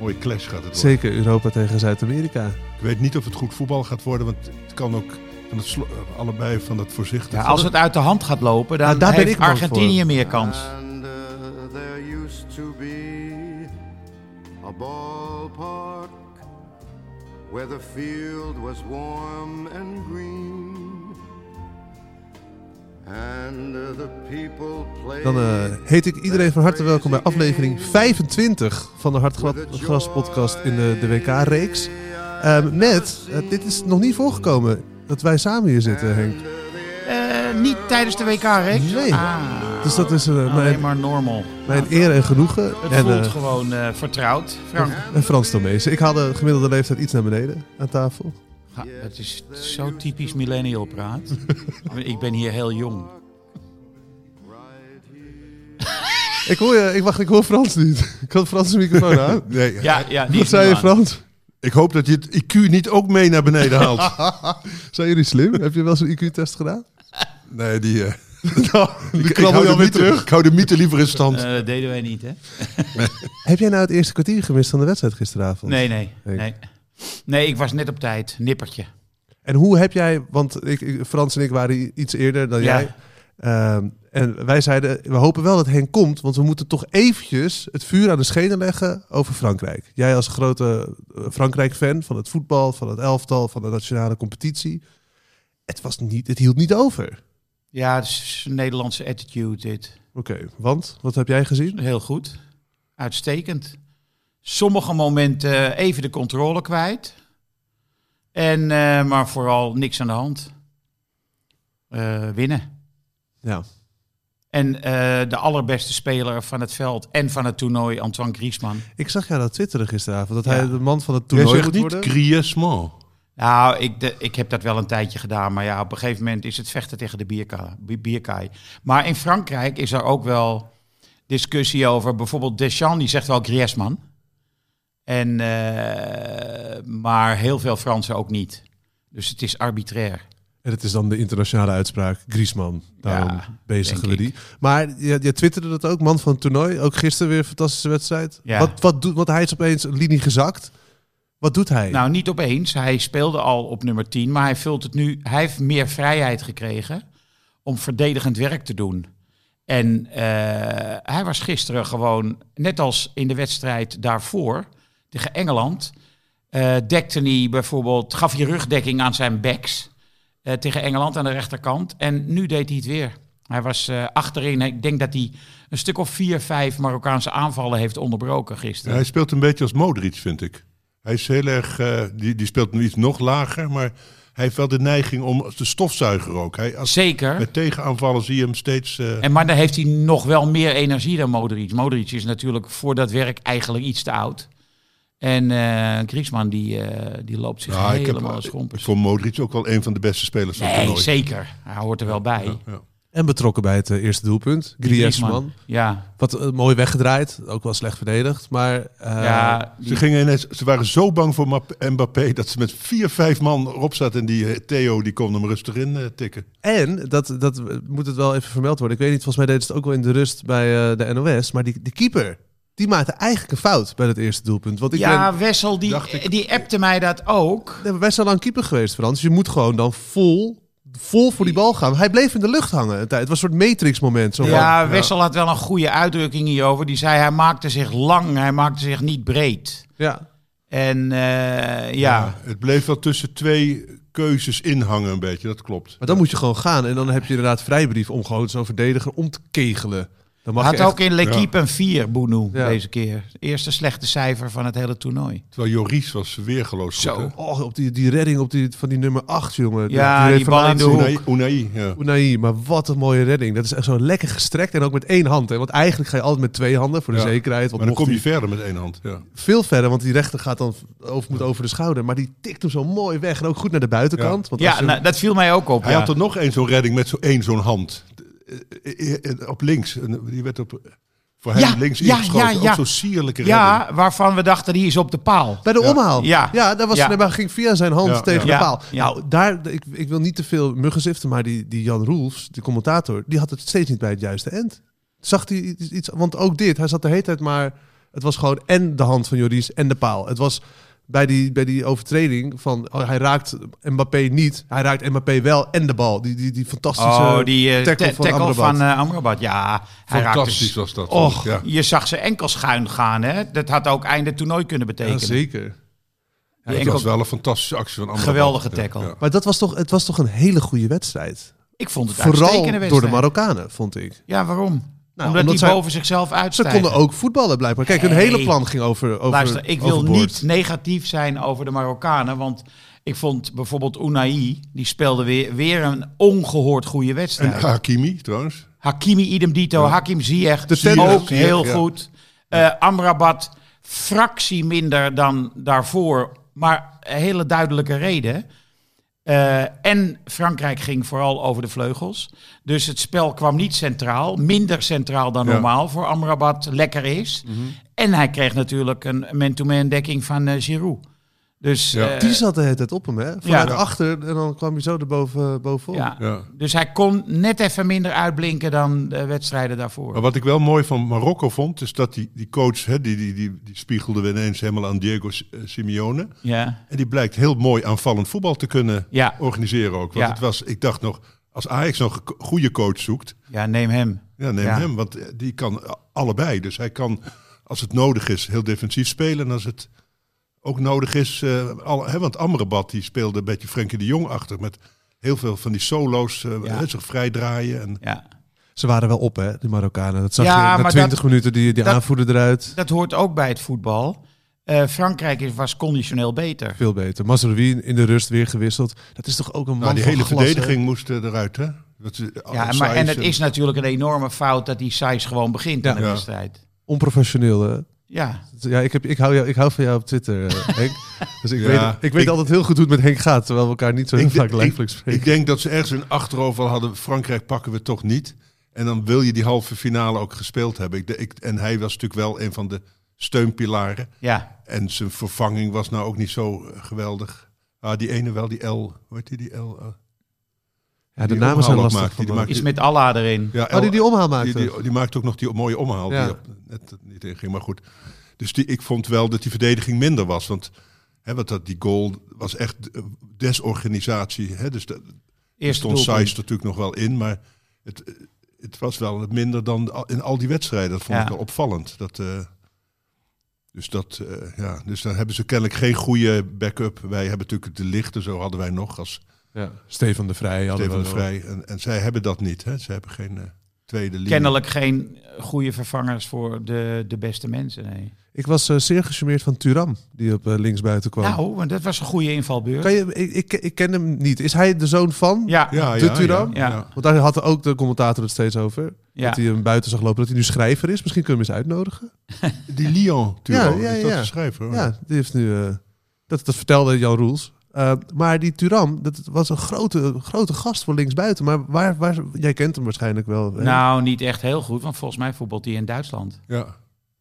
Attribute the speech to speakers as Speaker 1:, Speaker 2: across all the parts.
Speaker 1: Mooie clash gaat het worden.
Speaker 2: Zeker Europa tegen Zuid-Amerika.
Speaker 1: Ik weet niet of het goed voetbal gaat worden, want het kan ook van het slo- eh, allebei van dat voorzichtig.
Speaker 3: Ja, als het uit de hand gaat lopen, dan
Speaker 2: Nou, daar ben
Speaker 3: heeft
Speaker 2: ik bang
Speaker 3: Argentinië
Speaker 2: voor.
Speaker 3: meer kans.
Speaker 4: And uh, there used to be a ballpark where the field was warm and green. And uh, the people played.
Speaker 2: Dan eh, heet ik iedereen van harte welkom bij aflevering 25 van de Hartgras podcast in de, de WK-reeks. Ehm, met, eh, dit is nog niet voorgekomen, dat wij samen hier zitten, Henk.
Speaker 3: Eh, niet tijdens de WK-reeks?
Speaker 2: Nee.
Speaker 3: Ah,
Speaker 2: Dus dat is eh,
Speaker 3: alleen
Speaker 2: mijn,
Speaker 3: maar normal.
Speaker 2: mijn eer en genoegen.
Speaker 3: Het
Speaker 2: en,
Speaker 3: voelt
Speaker 2: eh,
Speaker 3: gewoon eh, vertrouwd, Frank.
Speaker 2: en Frans Tomezen. Ik haal de gemiddelde leeftijd iets naar beneden aan tafel.
Speaker 3: Ja, het is zo typisch millennial praat. ik ben hier heel jong.
Speaker 2: Ik hoor je, ik wacht, ik hoor Frans niet. Ik had Frans zijn microfoon aan.
Speaker 1: Nee,
Speaker 3: Ja, ja, die
Speaker 2: Wat
Speaker 3: is
Speaker 2: zei
Speaker 3: nu
Speaker 2: je,
Speaker 3: aan.
Speaker 2: Frans?
Speaker 1: ik hoop dat je het IQ niet ook mee naar beneden haalt.
Speaker 2: Zijn jullie slim? Heb je wel zo'n IQ-test gedaan? Nou,
Speaker 1: nee, die, eh,
Speaker 2: Die
Speaker 1: ik, hou
Speaker 2: krabbel je
Speaker 1: de
Speaker 2: alweer
Speaker 1: mythe,
Speaker 2: terug.
Speaker 1: ik hou de mythe liever in stand.
Speaker 3: Eh, dat deden wij niet, hè?
Speaker 2: Heb jij nou het eerste kwartier gemist van de wedstrijd gisteravond?
Speaker 3: Nee, nee,
Speaker 2: Ik-
Speaker 3: nee. Nee, ik was net op tijd. Nippertje.
Speaker 2: En hoe heb jij, want ik, ik- Frans en ik waren i- iets eerder dan
Speaker 3: Ja.
Speaker 2: Oh, jij. Ehm, en wij zeiden, we hopen wel dat Henk komt, want we moeten toch eventjes het vuur aan de schenen leggen over Frankrijk. Jij als grote eh, Frankrijk-fan van het voetbal, van het elftal, van de nationale competitie. Het, was niet, het hield niet over.
Speaker 3: Ja, het is een Nederlandse attitude dit.
Speaker 2: Oké, want wat heb jij gezien?
Speaker 3: Heel goed. Uitstekend. Sommige momenten eh, even de controle kwijt. En, eh, maar vooral niks aan de hand. Eh, winnen.
Speaker 2: Ja.
Speaker 3: En eh, de allerbeste speler van het veld en van het toernooi, Antoine Griezmann.
Speaker 2: Ik zag jou dat twitteren gisteravond, dat
Speaker 3: Ja.
Speaker 2: hij de man van het
Speaker 1: Jij
Speaker 2: toernooi
Speaker 1: zegt
Speaker 2: moet
Speaker 1: niet
Speaker 2: worden.
Speaker 1: Griezmann.
Speaker 3: Nou, ik, de- ik heb dat wel een tijdje gedaan. Maar ja, op een gegeven moment is het vechten tegen de bierka, bi- bierkaai. Maar in Frankrijk is er ook wel discussie over. Bijvoorbeeld Deschamps, die zegt wel Griezmann. En, eh, maar heel veel Fransen ook niet. Dus het is arbitrair.
Speaker 2: En het is dan de internationale uitspraak, Griezmann. Daarom
Speaker 3: Ja,
Speaker 2: bezigen
Speaker 3: denk
Speaker 2: we
Speaker 3: ik.
Speaker 2: die. Maar je, je twitterde dat ook, man van het toernooi. Ook gisteren weer een fantastische wedstrijd.
Speaker 3: Ja.
Speaker 2: Wat, wat doet, want hij is opeens een linie gezakt. Wat doet hij?
Speaker 3: Nou, niet opeens. Hij speelde al op nummer 10, maar hij vult het nu. Hij heeft meer vrijheid gekregen om verdedigend werk te doen. En eh, hij was gisteren gewoon, net als in de wedstrijd daarvoor tegen Engeland, eh, dekte hij bijvoorbeeld, gaf hij rugdekking aan zijn backs eh, tegen Engeland aan de rechterkant. En nu deed hij het weer. Hij was eh, achterin. Ik denk dat hij een stuk of vier, vijf Marokkaanse aanvallen heeft onderbroken gisteren.
Speaker 1: Hij speelt een beetje als Modric, vind ik. Hij is heel erg, eh, die, die speelt nu iets nog lager, maar hij heeft wel de neiging om als de stofzuiger ook. Hij, als,
Speaker 3: Zeker.
Speaker 1: met tegenaanvallen zie je hem steeds... eh,
Speaker 3: En maar dan heeft hij nog wel meer energie dan Modric. Modric is natuurlijk voor dat werk eigenlijk iets te oud. En eh Griezmann die, eh, die loopt zich
Speaker 1: ja, ik, heb,
Speaker 3: helemaal als
Speaker 1: ik
Speaker 3: schompers.
Speaker 1: vond Modric ook wel een van de beste spelers van het
Speaker 3: Nee,
Speaker 1: toernooi.
Speaker 3: zeker. Hij hoort er wel bij.
Speaker 1: Ja, ja.
Speaker 2: En betrokken bij het eh, eerste doelpunt.
Speaker 3: Die
Speaker 2: Griezmann.
Speaker 3: Ja,
Speaker 2: Wat eh, mooi weggedraaid. Ook wel slecht verdedigd. Maar eh,
Speaker 3: ja
Speaker 1: Ze,
Speaker 3: die-
Speaker 1: gingen ineens, ze waren zo bang voor Map- Mbappé dat ze met vier, vijf man erop zaten. En die eh, Theo die kon hem rustig in eh, tikken.
Speaker 2: En, dat, dat eh, moet het wel even vermeld worden. Ik weet niet, volgens mij deden ze het ook wel in de rust bij eh, de NOS. Maar die, die keeper, die maakte eigenlijk een fout bij dat eerste doelpunt. Want ik ben,
Speaker 3: ja Wessel die,
Speaker 1: dacht ik-
Speaker 3: die appte mij dat ook.
Speaker 2: Dus Nee, maar wij zijn lang keeper geweest, Frans. Je moet gewoon dan vol vol voor die bal gaan. Hij bleef in de lucht hangen een tijd. Het was een soort Matrix-moment. Zo
Speaker 3: Ja,
Speaker 2: van.
Speaker 3: Wessel had wel een goede uitdrukking hierover. Die zei, hij maakte zich lang, hij maakte zich niet breed.
Speaker 2: Ja.
Speaker 3: En eh, ja,
Speaker 1: Het bleef wel tussen twee keuzes inhangen een beetje, dat klopt.
Speaker 2: Maar dan moet je gewoon gaan. En dan heb je inderdaad vrijbrief om gewoon zo'n verdediger om te kegelen. Dan mag
Speaker 3: had
Speaker 2: je echt-
Speaker 3: ook in L'Equipe een 4, Bounou,
Speaker 2: Ja.
Speaker 3: deze keer. Eerste slechte cijfer van het hele toernooi.
Speaker 1: Terwijl Joris was weergeloos goed, hè?
Speaker 2: Oh, op die, die redding op die, van die nummer 8, jongen.
Speaker 3: Ja, die bal in de
Speaker 2: revelatie.
Speaker 3: hoek.
Speaker 1: Unai, Unai, ja.
Speaker 2: Unai, maar wat een mooie redding. Dat is echt zo lekker gestrekt en ook met één hand. Hè? Want eigenlijk ga je altijd met twee handen voor de
Speaker 1: Ja.
Speaker 2: zekerheid. Want
Speaker 1: Maar dan
Speaker 2: mocht
Speaker 1: kom je
Speaker 2: hij-
Speaker 1: verder met één hand. Ja.
Speaker 2: veel verder, want die rechter gaat dan over, moet over de schouder. Maar die tikt hem zo mooi weg en ook goed naar de buitenkant. Want als
Speaker 3: Ja,
Speaker 2: je-
Speaker 3: nou, dat viel mij ook op.
Speaker 1: Hij
Speaker 3: ja.
Speaker 1: had er nog één zo'n redding met zo één zo'n hand. Eh, eh, eh, Op links. En Die werd op, eh, voor hem
Speaker 3: Ja,
Speaker 1: links
Speaker 3: ja,
Speaker 1: ingeschoten.
Speaker 3: ja, ja.
Speaker 1: Ook zo'n sierlijke redding.
Speaker 3: ja, waarvan we dachten, die is op de paal.
Speaker 2: Bij de omhaal.
Speaker 3: Ja.
Speaker 2: ja daar was,
Speaker 3: Ja.
Speaker 2: nee, maar ging via zijn hand
Speaker 1: Ja.
Speaker 2: tegen
Speaker 3: Ja.
Speaker 2: de paal.
Speaker 3: Ja.
Speaker 2: Nou, daar, ik, ik wil niet te veel muggenziften, maar die, die Jan Roelfs, die commentator, die had het steeds niet bij het juiste end. Zag hij iets, iets- want ook dit, hij zat de hele tijd maar, het was gewoon en de hand van Joris en de paal. Het was bij die, bij die overtreding van, oh, hij raakt Mbappé niet, hij raakt Mbappé wel en de bal. Die, die, die fantastische
Speaker 3: Oh, die eh, ta-
Speaker 2: tackle
Speaker 3: tackle,
Speaker 2: van Amrabat.
Speaker 3: van eh, Amrabat. Ja, hij raakte...
Speaker 1: Fantastisch
Speaker 3: s-
Speaker 1: was dat.
Speaker 2: Och,
Speaker 1: ja.
Speaker 3: Je zag zijn enkel schuin gaan, hè? Dat had ook einde toernooi kunnen
Speaker 2: ja,
Speaker 3: betekenen.
Speaker 2: zeker.
Speaker 3: Die
Speaker 1: Het
Speaker 3: enkel-
Speaker 1: was wel een fantastische actie van Amrabat.
Speaker 3: Geweldige
Speaker 1: Ja,
Speaker 3: tackle.
Speaker 1: ja.
Speaker 2: Maar dat was toch, het was toch een hele goede wedstrijd.
Speaker 3: Ik vond het
Speaker 2: Vooral
Speaker 3: uitstekende
Speaker 2: door de
Speaker 3: wedstrijd.
Speaker 2: Marokkanen, vond ik.
Speaker 3: Ja, waarom? Nou, omdat,
Speaker 2: omdat
Speaker 3: die
Speaker 2: zij-
Speaker 3: boven zichzelf
Speaker 2: Ze
Speaker 3: uitstijgen.
Speaker 2: konden ook voetballen blijkbaar. Kijk, hun
Speaker 3: Hey.
Speaker 2: hele plan ging over. over
Speaker 3: Luister, ik wil
Speaker 2: overboord.
Speaker 3: niet negatief zijn over de Marokkanen. Want ik vond bijvoorbeeld Unai, die speelde weer, weer een ongehoord goede
Speaker 1: En
Speaker 3: wedstrijd.
Speaker 1: Hakimi trouwens.
Speaker 3: Hakimi idem dito, Hakim Ziyech,
Speaker 2: De tender.
Speaker 3: ook
Speaker 1: Ziyech,
Speaker 3: heel
Speaker 1: ja.
Speaker 3: goed. Eh, Amrabat, fractie minder dan daarvoor, maar een hele duidelijke reden. Eh, en Frankrijk ging vooral over de vleugels. Dus het spel kwam niet centraal, minder centraal dan
Speaker 1: Ja. Mhm.
Speaker 3: normaal voor Amrabat lekker is. En hij kreeg natuurlijk een man-to-man dekking van eh, Giroud. Dus,
Speaker 1: Ja.
Speaker 3: eh,
Speaker 2: Die zat de hele tijd op hem, hè? Vanuit
Speaker 3: Ja.
Speaker 2: achter en dan kwam hij zo erboven, bovenop.
Speaker 3: ja.
Speaker 1: Ja.
Speaker 3: dus hij kon net even minder uitblinken dan de wedstrijden daarvoor.
Speaker 1: Maar wat ik wel mooi van Marokko vond, is dat die, die coach, hè, die, die, die, die spiegelde we ineens helemaal aan Diego S- eh, Simeone.
Speaker 3: Ja.
Speaker 1: En die blijkt heel mooi aanvallend voetbal te kunnen
Speaker 3: Ja.
Speaker 1: organiseren ook. Want
Speaker 3: Ja.
Speaker 1: het was, ik dacht nog, als Ajax nog een ko- goede coach zoekt,
Speaker 3: ja, neem hem.
Speaker 1: ja, neem
Speaker 3: Ja.
Speaker 1: hem. Want eh, die kan eh, allebei. Dus hij kan, als het nodig is, heel defensief spelen. En als het ook nodig is, eh, alle, hè, want Amrabat die speelde een beetje Frenkie de Jong achter. Met heel veel van die solo's, eh,
Speaker 3: Ja.
Speaker 1: hè, zich vrijdraaien. En,
Speaker 3: Ja.
Speaker 2: Ze waren wel op, hè, die Marokkanen. Dat zag
Speaker 3: Ja,
Speaker 2: je na
Speaker 3: maar
Speaker 2: 20 minuten die, die
Speaker 3: dat-
Speaker 2: aanvoerder eruit.
Speaker 3: Dat hoort ook bij het voetbal. Eh, Frankrijk is- was conditioneel beter.
Speaker 2: Veel beter. Mazraoui in de rust weer gewisseld. Dat is toch ook een man
Speaker 1: nou, die
Speaker 2: van
Speaker 1: hele
Speaker 2: glas, hè?
Speaker 1: verdediging moest eh, eruit, hè? Dat, is, eh,
Speaker 3: Ja, maar,
Speaker 1: Sijs
Speaker 3: en het is natuurlijk een enorme fout dat die size gewoon begint
Speaker 2: Ja.
Speaker 3: aan de
Speaker 1: Ja.
Speaker 3: wedstrijd.
Speaker 2: Onprofessioneel, hè?
Speaker 3: Ja,
Speaker 2: Ja, ik, heb, ik, hou jou, ik hou van jou op Twitter, eh, Henk. Dus ik,
Speaker 1: Ja,
Speaker 2: weet, ik weet
Speaker 1: ik-
Speaker 2: altijd heel goed hoe het met Henk gaat, terwijl we elkaar niet zo heel
Speaker 1: Ik,
Speaker 2: vaak
Speaker 1: denk- ik,
Speaker 2: lijfelijk spreken.
Speaker 1: ik denk dat ze ergens een achterover hadden. Frankrijk pakken we toch niet. En dan wil je die halve finale ook gespeeld hebben. Ik, de- ik, en hij was natuurlijk wel een van de steunpilaren.
Speaker 3: ja.
Speaker 1: En zijn vervanging was nou ook niet zo eh, geweldig. Ah, die ene wel, die L. Hoe heet die, die L? eh,
Speaker 2: ja, de
Speaker 1: die
Speaker 2: namen
Speaker 1: omhaal ook
Speaker 2: zijn lastig.
Speaker 1: maakt, die
Speaker 2: vandaag.
Speaker 1: maakt-
Speaker 3: Iets met Allah erin.
Speaker 1: Ja,
Speaker 2: Oh, die die omhaal maakte.
Speaker 1: die, die, die maakte ook nog die mooie omhaal.
Speaker 2: Ja.
Speaker 1: Die op, net niet in ging, maar goed. Dus die, ik vond wel dat die verdediging minder was. Want, hè, want dat, die goal was echt eh, desorganisatie. Hè, dus dat, Er
Speaker 3: Eerste
Speaker 1: stond
Speaker 3: doelpunt.
Speaker 1: Sijs er natuurlijk nog wel in, maar het, het was wel minder dan al- in al die wedstrijden. Dat vond
Speaker 3: Ja.
Speaker 1: ik wel opvallend. Dat, eh, dus, dat, eh, ja, dus dan hebben ze kennelijk geen goede backup. Wij hebben natuurlijk de lichten, zo hadden wij nog als
Speaker 2: Ja. Stefan de Vrij. hadden
Speaker 1: Stefan
Speaker 2: we
Speaker 1: de
Speaker 2: nog.
Speaker 1: Vrij. En, en zij hebben dat niet. Hè? Ze hebben geen eh, tweede linie.
Speaker 3: Kennelijk geen eh, goede vervangers voor de, de beste mensen. Nee.
Speaker 2: Ik was eh, zeer gecharmeerd van Turam, die op eh, linksbuiten kwam.
Speaker 3: Nou, want dat was een goede invalbeurt.
Speaker 2: kan je, ik, ik, ik ken hem niet. Is hij de zoon van?
Speaker 3: Ja, ja.
Speaker 1: Ja,
Speaker 2: De
Speaker 1: ja,
Speaker 2: Turam?
Speaker 1: ja,
Speaker 3: Ja.
Speaker 1: ja.
Speaker 2: Want daar had ook de commentator het steeds over. Dat hij hem buiten zag lopen, dat hij nu schrijver is. Misschien kunnen we hem eens uitnodigen.
Speaker 1: Die Lyon, Turam,
Speaker 2: Ja, ja,
Speaker 1: is dat
Speaker 2: ja.
Speaker 1: de schrijver? hoor.
Speaker 2: Ja, die heeft nu... eh, dat, dat vertelde Jan Roels. Eh, maar die Turam, dat was een grote, grote gast voor linksbuiten. Maar waar, waar, jij kent hem waarschijnlijk wel. hè?
Speaker 3: Nou, niet echt heel goed, want volgens mij voetbalt hij in Duitsland.
Speaker 1: ja.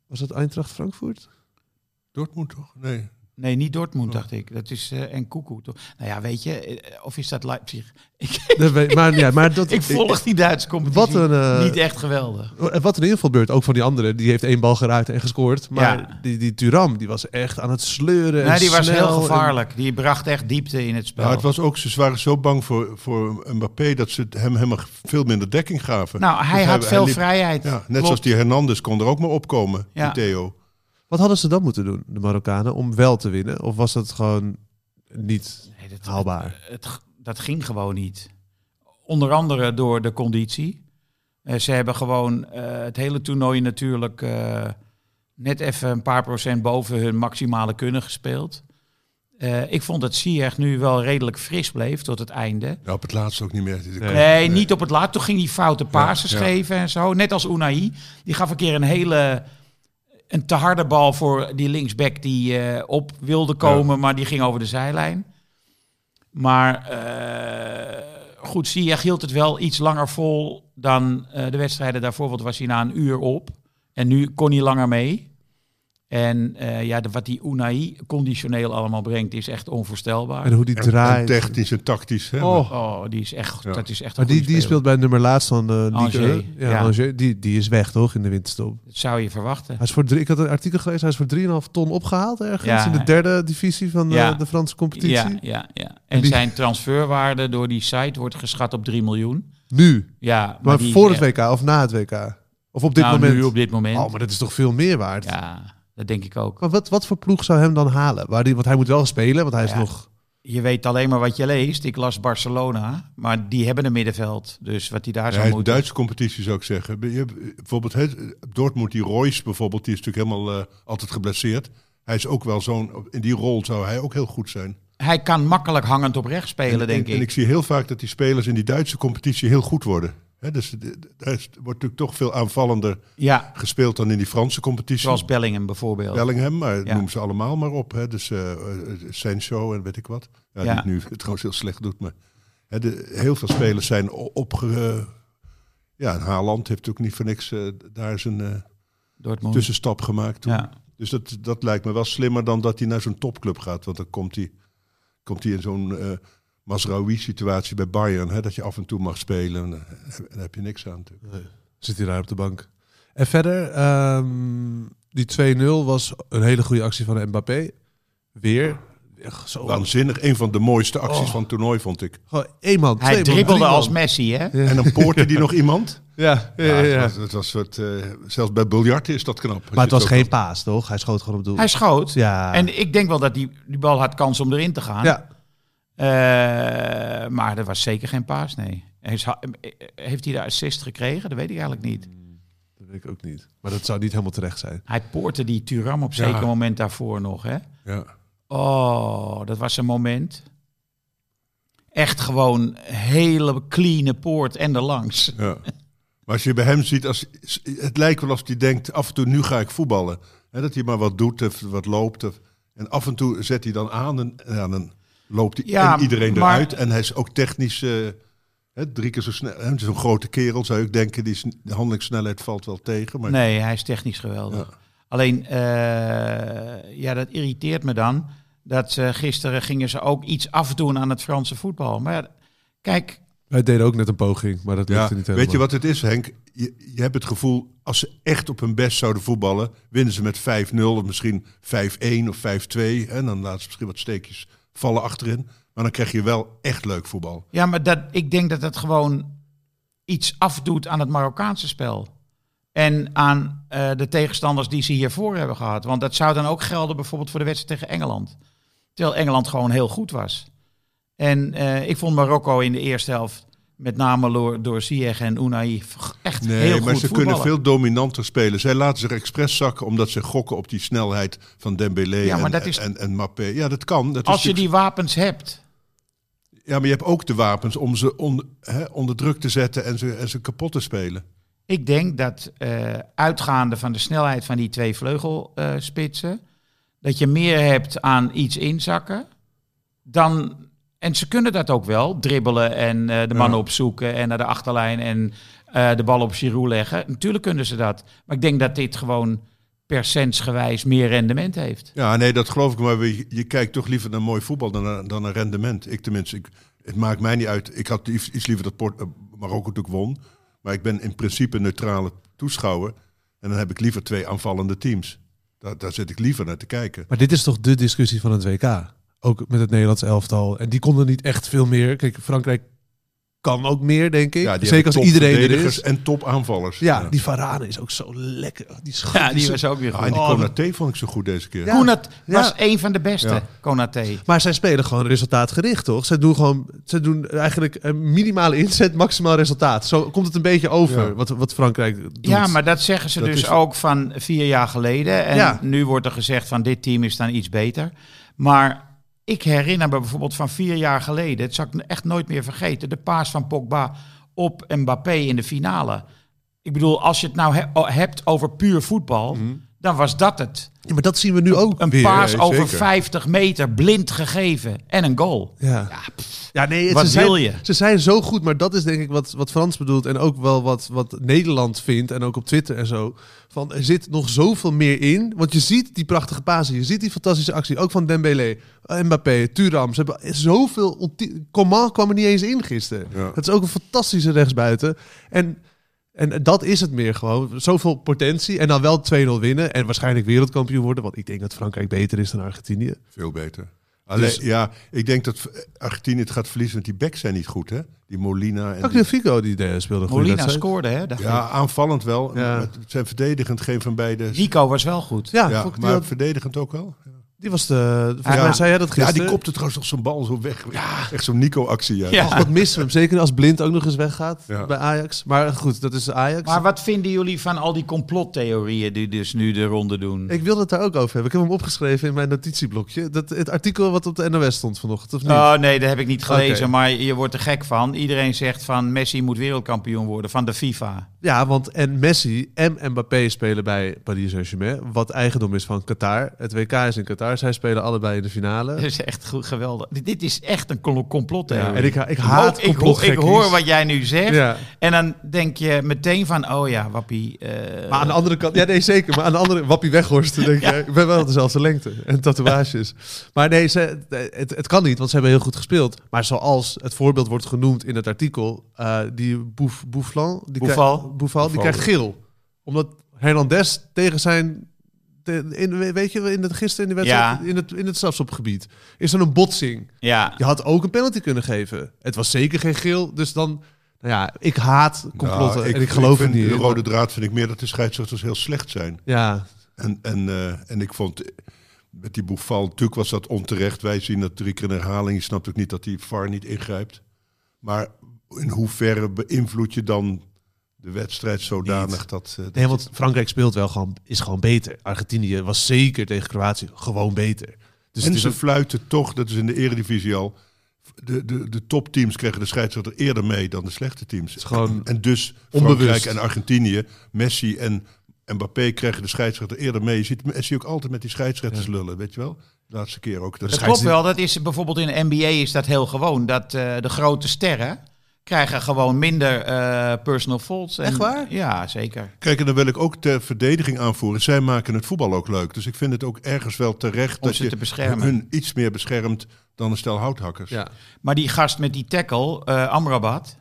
Speaker 2: Was dat Eintracht Frankfurt?
Speaker 1: Dortmund toch? Nee.
Speaker 3: Nee, niet Dortmund, dacht ik. Dat is eh en Koekoe. toch? Nou ja, weet je, eh, of is dat Leipzig? Ik,
Speaker 2: Dat weet- maar, ja, maar dat,
Speaker 3: ik volg die Duitse competitie.
Speaker 2: Wat een, eh,
Speaker 3: Niet echt geweldig.
Speaker 2: Wat in ieder geval gebeurt, ook van die andere, die heeft één bal geraakt en gescoord. Maar
Speaker 3: Ja.
Speaker 2: die, die Turam, die was echt aan het sleuren. en
Speaker 3: Nee, die was
Speaker 2: snel
Speaker 3: heel
Speaker 2: en-
Speaker 3: gevaarlijk. Die bracht echt diepte in het spel.
Speaker 1: Ja, het was ook, ze waren zo bang voor, voor Mbappé dat ze hem helemaal veel minder dekking gaven.
Speaker 3: nou, hij
Speaker 1: Dus
Speaker 3: had veel
Speaker 1: liep-
Speaker 3: vrijheid.
Speaker 1: Ja, net
Speaker 3: Klopt.
Speaker 1: zoals die Hernandez kon er ook maar opkomen,
Speaker 3: Ja.
Speaker 1: die Theo.
Speaker 2: Wat hadden ze dan moeten doen, de Marokkanen, om wel te winnen? Of was dat gewoon niet
Speaker 3: Nee, dat,
Speaker 2: haalbaar?
Speaker 3: het, g- dat ging gewoon niet. Onder andere door de conditie. Eh, ze hebben gewoon eh, het hele toernooi natuurlijk eh, net even een paar procent boven hun maximale kunnen gespeeld. Eh, ik vond dat Ziyech nu wel redelijk fris bleef tot het einde.
Speaker 1: Nou, op het laatst ook niet meer.
Speaker 2: Nee.
Speaker 3: Nee, niet op het laatst. Toen ging hij foute pases
Speaker 1: ja.
Speaker 3: geven en zo. Net als Unai. Die gaf een keer een hele... Een te harde bal voor die linksback die eh, op wilde komen, maar die ging over de zijlijn. Maar eh goed, Ziyech hield het wel iets langer vol dan eh, de wedstrijden daarvoor. Want was hij na een uur op. En nu kon hij langer mee. En eh, ja, de- wat die Unai conditioneel allemaal brengt, is echt onvoorstelbaar.
Speaker 2: En hoe die
Speaker 1: En, en
Speaker 2: draait.
Speaker 1: technisch en tactisch. Hè,
Speaker 2: Oh.
Speaker 3: Oh, die is echt,
Speaker 1: Ja.
Speaker 3: dat is echt een
Speaker 2: Maar die,
Speaker 3: goede
Speaker 2: die
Speaker 3: speler.
Speaker 2: speelt bij nummer laatst van de Ligue
Speaker 3: Angers,
Speaker 2: 1. Ja,
Speaker 3: ja.
Speaker 2: Angers. Die, die is weg, toch, in de winterstop?
Speaker 3: Dat zou je verwachten.
Speaker 2: Hij is voor drie, ik had een artikel gelezen, hij is voor 3,5 ton opgehaald ergens
Speaker 3: Ja.
Speaker 2: in de derde divisie van eh,
Speaker 3: Ja.
Speaker 2: de Franse competitie.
Speaker 3: Ja, ja, ja. En
Speaker 2: Die-
Speaker 3: zijn transferwaarde door die site wordt geschat op 3 miljoen.
Speaker 2: Nu,
Speaker 3: Ja, maar,
Speaker 2: maar
Speaker 3: die-
Speaker 2: voor
Speaker 3: ja,
Speaker 2: het WK of na het WK? Of op dit
Speaker 3: nou,
Speaker 2: moment?
Speaker 3: nu op dit moment.
Speaker 2: Oh, maar dat is toch veel meer waard?
Speaker 3: Ja, dat denk ik ook.
Speaker 2: Maar wat, wat voor ploeg zou hem dan halen? Waar die, want hij moet wel spelen, want hij is
Speaker 3: Ja.
Speaker 2: nog...
Speaker 3: Je weet alleen maar wat je leest. Ik las Barcelona, maar die hebben een middenveld. Dus wat die daar
Speaker 1: Ja,
Speaker 3: zou
Speaker 1: de
Speaker 3: moeten...
Speaker 1: Duitse competitie zou ik zeggen. Je hebt eh, bijvoorbeeld hè, Dortmund, die Royce bijvoorbeeld, die is natuurlijk helemaal eh, altijd geblesseerd. Hij is ook wel zo'n, in die rol zou hij ook heel goed zijn.
Speaker 3: Hij kan makkelijk hangend op rechts spelen,
Speaker 1: en,
Speaker 3: denk
Speaker 1: en,
Speaker 3: ik.
Speaker 1: En ik zie heel vaak dat die spelers in die Duitse competitie heel goed worden. Hè, dus eh, daar is- wordt natuurlijk toch veel aanvallender
Speaker 3: Ja,
Speaker 1: gespeeld dan in die Franse competitie.
Speaker 3: zoals Bellingham bijvoorbeeld.
Speaker 1: Bellingham, maar
Speaker 3: Ja.
Speaker 1: noem ze allemaal maar op. Hè. Dus eh eh, Sancho en weet ik wat. Ja,
Speaker 3: Ja.
Speaker 1: Die het nu trouwens heel slecht doet. Maar hè, de, heel veel spelers zijn o- opge... eh, ja, en Haaland heeft ook niet voor niks eh, daar zijn eh,
Speaker 3: Dortmund.
Speaker 1: tussenstap gemaakt. Toen.
Speaker 3: Oh. Ja.
Speaker 1: Dus dat, dat lijkt me wel slimmer dan dat hij naar zo'n topclub gaat. Want dan komt hij, komt hij in zo'n eh Masraoui-situatie bij Bayern. Hè, dat je af en toe mag spelen. En, eh, daar heb je niks aan natuurlijk.
Speaker 2: Zit hij daar op de bank. En verder, ehm, die 2-0 was een hele goede actie van Mbappé. Weer. Echt Zo
Speaker 1: Waanzinnig. Een van de mooiste acties
Speaker 2: Oh.
Speaker 1: van het toernooi, vond ik.
Speaker 2: Gewoon één man, twee
Speaker 3: Hij
Speaker 2: man,
Speaker 3: dribbelde
Speaker 2: drie man.
Speaker 3: als Messi, hè?
Speaker 1: En dan poorte die nog iemand.
Speaker 2: Ja, ja,
Speaker 1: Ja,
Speaker 2: ja,
Speaker 1: Het
Speaker 2: ja.
Speaker 1: was, het was een soort, eh, zelfs bij biljarten is dat knap.
Speaker 2: Maar het was
Speaker 1: Ook
Speaker 2: geen paas, toch? Hij schoot gewoon op doel.
Speaker 3: Hij schoot.
Speaker 2: Ja.
Speaker 3: En ik denk wel dat die, die bal had kans om erin te gaan.
Speaker 2: ja.
Speaker 3: Eh, maar er was zeker geen paas, nee. Heeft, heeft hij de assist gekregen? Dat weet ik eigenlijk niet.
Speaker 2: Dat weet ik ook niet. Maar dat zou niet helemaal terecht zijn.
Speaker 3: Hij poorte die Turam op zeker moment daarvoor nog, hè?
Speaker 1: Ja.
Speaker 3: Oh, dat was een moment. Echt gewoon hele cleane poort en erlangs.
Speaker 1: Ja. Maar als je bij hem ziet, als, het lijkt wel alsof hij denkt, af en toe nu ga ik voetballen. Hè, dat hij maar wat doet of wat loopt. Of, en af en toe zet hij dan aan en, en dan loopt hij
Speaker 3: Ja,
Speaker 1: en iedereen
Speaker 3: maar-
Speaker 1: eruit. En hij is ook technisch eh, hè, drie keer zo snel. Hè, het is een grote kerel, zou ik denken. Die sn- de handelingssnelheid valt wel tegen. Maar
Speaker 3: Nee, hij is technisch geweldig. Alleen, eh, ja, dat irriteert me dan. Dat ze, gisteren gingen ze ook iets afdoen aan het Franse voetbal. Maar ja, kijk,
Speaker 2: Wij deden ook net een poging, maar dat lukte
Speaker 1: ja,
Speaker 2: niet helemaal.
Speaker 1: weet je wat het is, Henk? Je, je hebt het gevoel, als ze echt op hun best zouden voetballen, winnen ze met 5-0 of misschien 5-1 of 5-2. En dan laten ze misschien wat steekjes vallen achterin. Maar dan krijg je wel echt leuk voetbal.
Speaker 3: Ja, maar dat, ik denk dat dat gewoon iets afdoet aan het Marokkaanse spel. En aan eh, de tegenstanders die ze hiervoor hebben gehad. Want dat zou dan ook gelden bijvoorbeeld voor de wedstrijd tegen Engeland. Terwijl Engeland gewoon heel goed was. En eh, ik vond Marokko in de eerste helft, met name door, door Ziyech en Unai, v- echt
Speaker 1: Nee,
Speaker 3: heel
Speaker 1: maar
Speaker 3: goed
Speaker 1: ze
Speaker 3: voetballen.
Speaker 1: kunnen veel dominanter spelen. Zij laten zich expres zakken omdat ze gokken op die snelheid van Dembélé
Speaker 3: Ja, maar
Speaker 1: en,
Speaker 3: dat is-
Speaker 1: en, en Mappé. Ja, dat kan. Dat
Speaker 3: Als
Speaker 1: is
Speaker 3: je die wapens hebt.
Speaker 1: natuurlijk- Ja, maar je hebt ook de wapens om ze on- hè, onder druk te zetten en ze, en ze kapot te spelen.
Speaker 3: Ik denk dat eh, uitgaande van de snelheid van die twee vleugelspitsen, dat je meer hebt aan iets inzakken dan. En ze kunnen dat ook wel, dribbelen en eh, de mannen opzoeken en naar de achterlijn en eh, de bal op Giroud leggen. Natuurlijk kunnen ze dat. Maar ik denk dat dit gewoon percentsgewijs meer rendement heeft.
Speaker 1: Ja, nee, dat geloof ik. Maar je, je kijkt toch liever naar mooi voetbal dan naar, dan naar rendement. Ik tenminste, ik, het maakt mij niet uit. Ik had lief- iets liever dat Port, eh, Marokko natuurlijk won. Maar ik ben in principe een neutrale toeschouwer. En dan heb ik liever twee aanvallende teams. Daar, daar zit ik liever naar te kijken.
Speaker 2: Maar dit is toch de discussie van het WK? Ook met het Nederlands elftal. En die konden niet echt veel meer. Kijk, Frankrijk kan ook meer, denk ik.
Speaker 1: Ja, die
Speaker 2: Zeker
Speaker 1: hebben
Speaker 2: als
Speaker 1: top
Speaker 2: iedereen er
Speaker 1: verdedigers
Speaker 2: is.
Speaker 1: En top aanvallers.
Speaker 2: Ja, die Varane is ook zo lekker. Die schot
Speaker 3: Ja,
Speaker 2: is
Speaker 3: die
Speaker 2: zo-
Speaker 3: was ook weer goed.
Speaker 1: Ah, en die
Speaker 2: Oh,
Speaker 1: Konaté vond ik zo goed deze keer.
Speaker 2: Ja.
Speaker 3: Konat was
Speaker 2: Ja.
Speaker 3: een van de beste,
Speaker 1: Ja.
Speaker 3: Konaté.
Speaker 2: Maar zij spelen gewoon resultaatgericht, toch? Zij doen gewoon, zij doen eigenlijk een minimale inzet, maximaal resultaat. Zo komt het een beetje over
Speaker 1: Ja.
Speaker 2: wat, wat Frankrijk doet.
Speaker 3: Ja, maar dat zeggen ze
Speaker 1: Dat
Speaker 3: dus
Speaker 1: is-
Speaker 3: ook van vier jaar geleden. En
Speaker 2: Ja.
Speaker 3: nu wordt er gezegd van dit team is dan iets beter. Maar ik herinner me bijvoorbeeld van vier jaar geleden, het zal ik echt nooit meer vergeten, de paas van Pogba op Mbappé in de finale. Ik bedoel, als je het nou he- o- hebt over puur voetbal, dan was dat het.
Speaker 2: Ja, maar dat zien we nu ook
Speaker 3: Een
Speaker 2: weer.
Speaker 3: paas
Speaker 1: eh,
Speaker 3: over
Speaker 1: zeker.
Speaker 3: 50 meter, blind gegeven en een goal.
Speaker 2: Ja. Ja, nee, het-
Speaker 3: Wat
Speaker 2: ze, zijn,
Speaker 3: wil je?
Speaker 2: ze zijn zo goed, maar dat is denk ik wat, wat Frans bedoelt en ook wel wat, wat Nederland vindt en ook op Twitter en zo. Van er zit nog zoveel meer in, want je ziet die prachtige pasen, je ziet die fantastische actie, ook van Dembélé, eh, Mbappé, Turam. Ze hebben zoveel. ontie- Coman kwam er niet eens in gisteren.
Speaker 1: Ja.
Speaker 2: Dat is ook een fantastische rechtsbuiten. En en dat is het meer gewoon. Zoveel potentie en dan wel 2-0 winnen en waarschijnlijk wereldkampioen worden. Want ik denk dat Frankrijk beter is dan Argentinië.
Speaker 1: Veel beter. Alleen,
Speaker 2: Dus-
Speaker 1: ja, ik denk dat Argentinië het gaat verliezen, want die backs zijn niet goed, hè? Die Molina en
Speaker 2: Ook
Speaker 1: die-
Speaker 2: de Figo die eh, speelde goed.
Speaker 3: Molina scoorde, hè? dacht ik.
Speaker 1: Ja, aanvallend wel.
Speaker 2: Ja.
Speaker 1: maar het zijn verdedigend geen van beide.
Speaker 3: Nico was wel goed.
Speaker 2: Ja,
Speaker 1: ja,
Speaker 2: vond ik- die,
Speaker 1: maar
Speaker 2: had-
Speaker 1: verdedigend ook wel.
Speaker 2: die was de... Volgens
Speaker 1: Ja.
Speaker 2: mij zei jij dat
Speaker 1: Ja,
Speaker 2: gisteren.
Speaker 1: die kopte trouwens nog zo'n bal zo weg. Echt zo'n Nico-actie. Ja.
Speaker 3: Ja.
Speaker 2: Ach, wat missen we hem. Zeker als Blind ook nog eens weggaat
Speaker 1: Ja.
Speaker 2: bij Ajax. Maar goed, dat is Ajax.
Speaker 3: Maar wat vinden jullie van al die complottheorieën die dus nu de ronde doen?
Speaker 2: Ik wilde het daar ook over hebben. Ik heb hem opgeschreven in mijn notitieblokje. Dat, het artikel wat op de NOS stond vanochtend, of niet?
Speaker 1: Ah.
Speaker 3: Oh nee, dat heb ik niet gelezen,
Speaker 2: Oké.
Speaker 3: maar je wordt er gek van. Iedereen zegt van Messi moet wereldkampioen worden van de FIFA.
Speaker 2: Ja, want en Messi en Mbappé spelen bij Paris Saint-Germain, wat eigendom is van Qatar. Het WK is in Qatar, zij spelen allebei in de
Speaker 3: Dat
Speaker 2: finale.
Speaker 3: is echt goed, geweldig. Dit- Dit is echt een col-
Speaker 2: Ja,
Speaker 3: complottheorie.
Speaker 2: en ik, ik haat
Speaker 3: ik, hoor, ik
Speaker 2: complotgekkies.
Speaker 3: hoor wat jij nu zegt
Speaker 2: Ja.
Speaker 3: en dan denk je meteen van, oh ja, wappie. eh,
Speaker 2: Maar aan de andere kant, ja nee zeker, maar aan de andere Wappie Weghorst, dan denk je, ik ben wel dezelfde lengte en tatoeages. Maar nee, ze, het, het kan niet, want ze hebben heel goed gespeeld. Maar zoals het voorbeeld wordt genoemd in het artikel, eh, die Bouf, Boufflan, die, krij-
Speaker 3: Boufal.
Speaker 2: Boufal, die krijgt geel. Omdat Hernandez tegen zijn, te- in, weet je, in het, gisteren in de wedstrijd,
Speaker 3: Ja.
Speaker 2: in het, in het strafschopgebied, is er een botsing.
Speaker 3: ja.
Speaker 2: Je had ook een penalty kunnen geven. Het was zeker geen geel, dus dan, nou ja, ik haat complotten
Speaker 1: Nou,
Speaker 2: en ik geloof
Speaker 1: vind-
Speaker 2: er niet
Speaker 1: De
Speaker 2: in.
Speaker 1: rode draad vind ik meer dat de scheidsrechters dus heel slecht zijn.
Speaker 2: Ja,
Speaker 1: En, en, eh, en ik vond eh, met die Boefal, natuurlijk was dat onterecht. Wij zien dat drie keer in herhaling. Je snapt ook niet dat die VAR niet ingrijpt. Maar in hoeverre beïnvloed je dan de wedstrijd zodanig dat... eh,
Speaker 2: Nee, want Frankrijk speelt wel gewoon, is gewoon beter. Argentinië was zeker tegen Kroatië gewoon beter. Dus het
Speaker 1: en
Speaker 2: is
Speaker 1: ze
Speaker 2: ook-
Speaker 1: fluiten toch, dat is in de eredivisie al... De, de, de topteams kregen de scheidsrechter eerder mee dan de slechte teams.
Speaker 2: is gewoon
Speaker 1: en dus
Speaker 2: onbewust.
Speaker 1: Frankrijk en Argentinië, Messi en Mbappé kregen de scheidsrechter eerder mee. Je ziet Messi ook altijd met die scheidsrechters lullen, weet je wel? De laatste keer ook. Dat
Speaker 3: Dat
Speaker 1: is
Speaker 3: klopt wel. Dat is bijvoorbeeld in de NBA is dat heel gewoon. Dat eh, de grote sterren krijgen gewoon minder eh, personal faults. En,
Speaker 2: Echt waar?
Speaker 3: Ja, zeker.
Speaker 1: Kijk, en dan wil ik ook ter verdediging aanvoeren. Zij maken het voetbal ook leuk. Dus ik vind het ook ergens wel terecht
Speaker 3: Om
Speaker 1: dat
Speaker 3: ze
Speaker 1: je
Speaker 3: te beschermen.
Speaker 1: hun iets meer beschermt dan een stel houthakkers.
Speaker 2: ja.
Speaker 3: Maar die gast met die tackle, eh, Amrabat,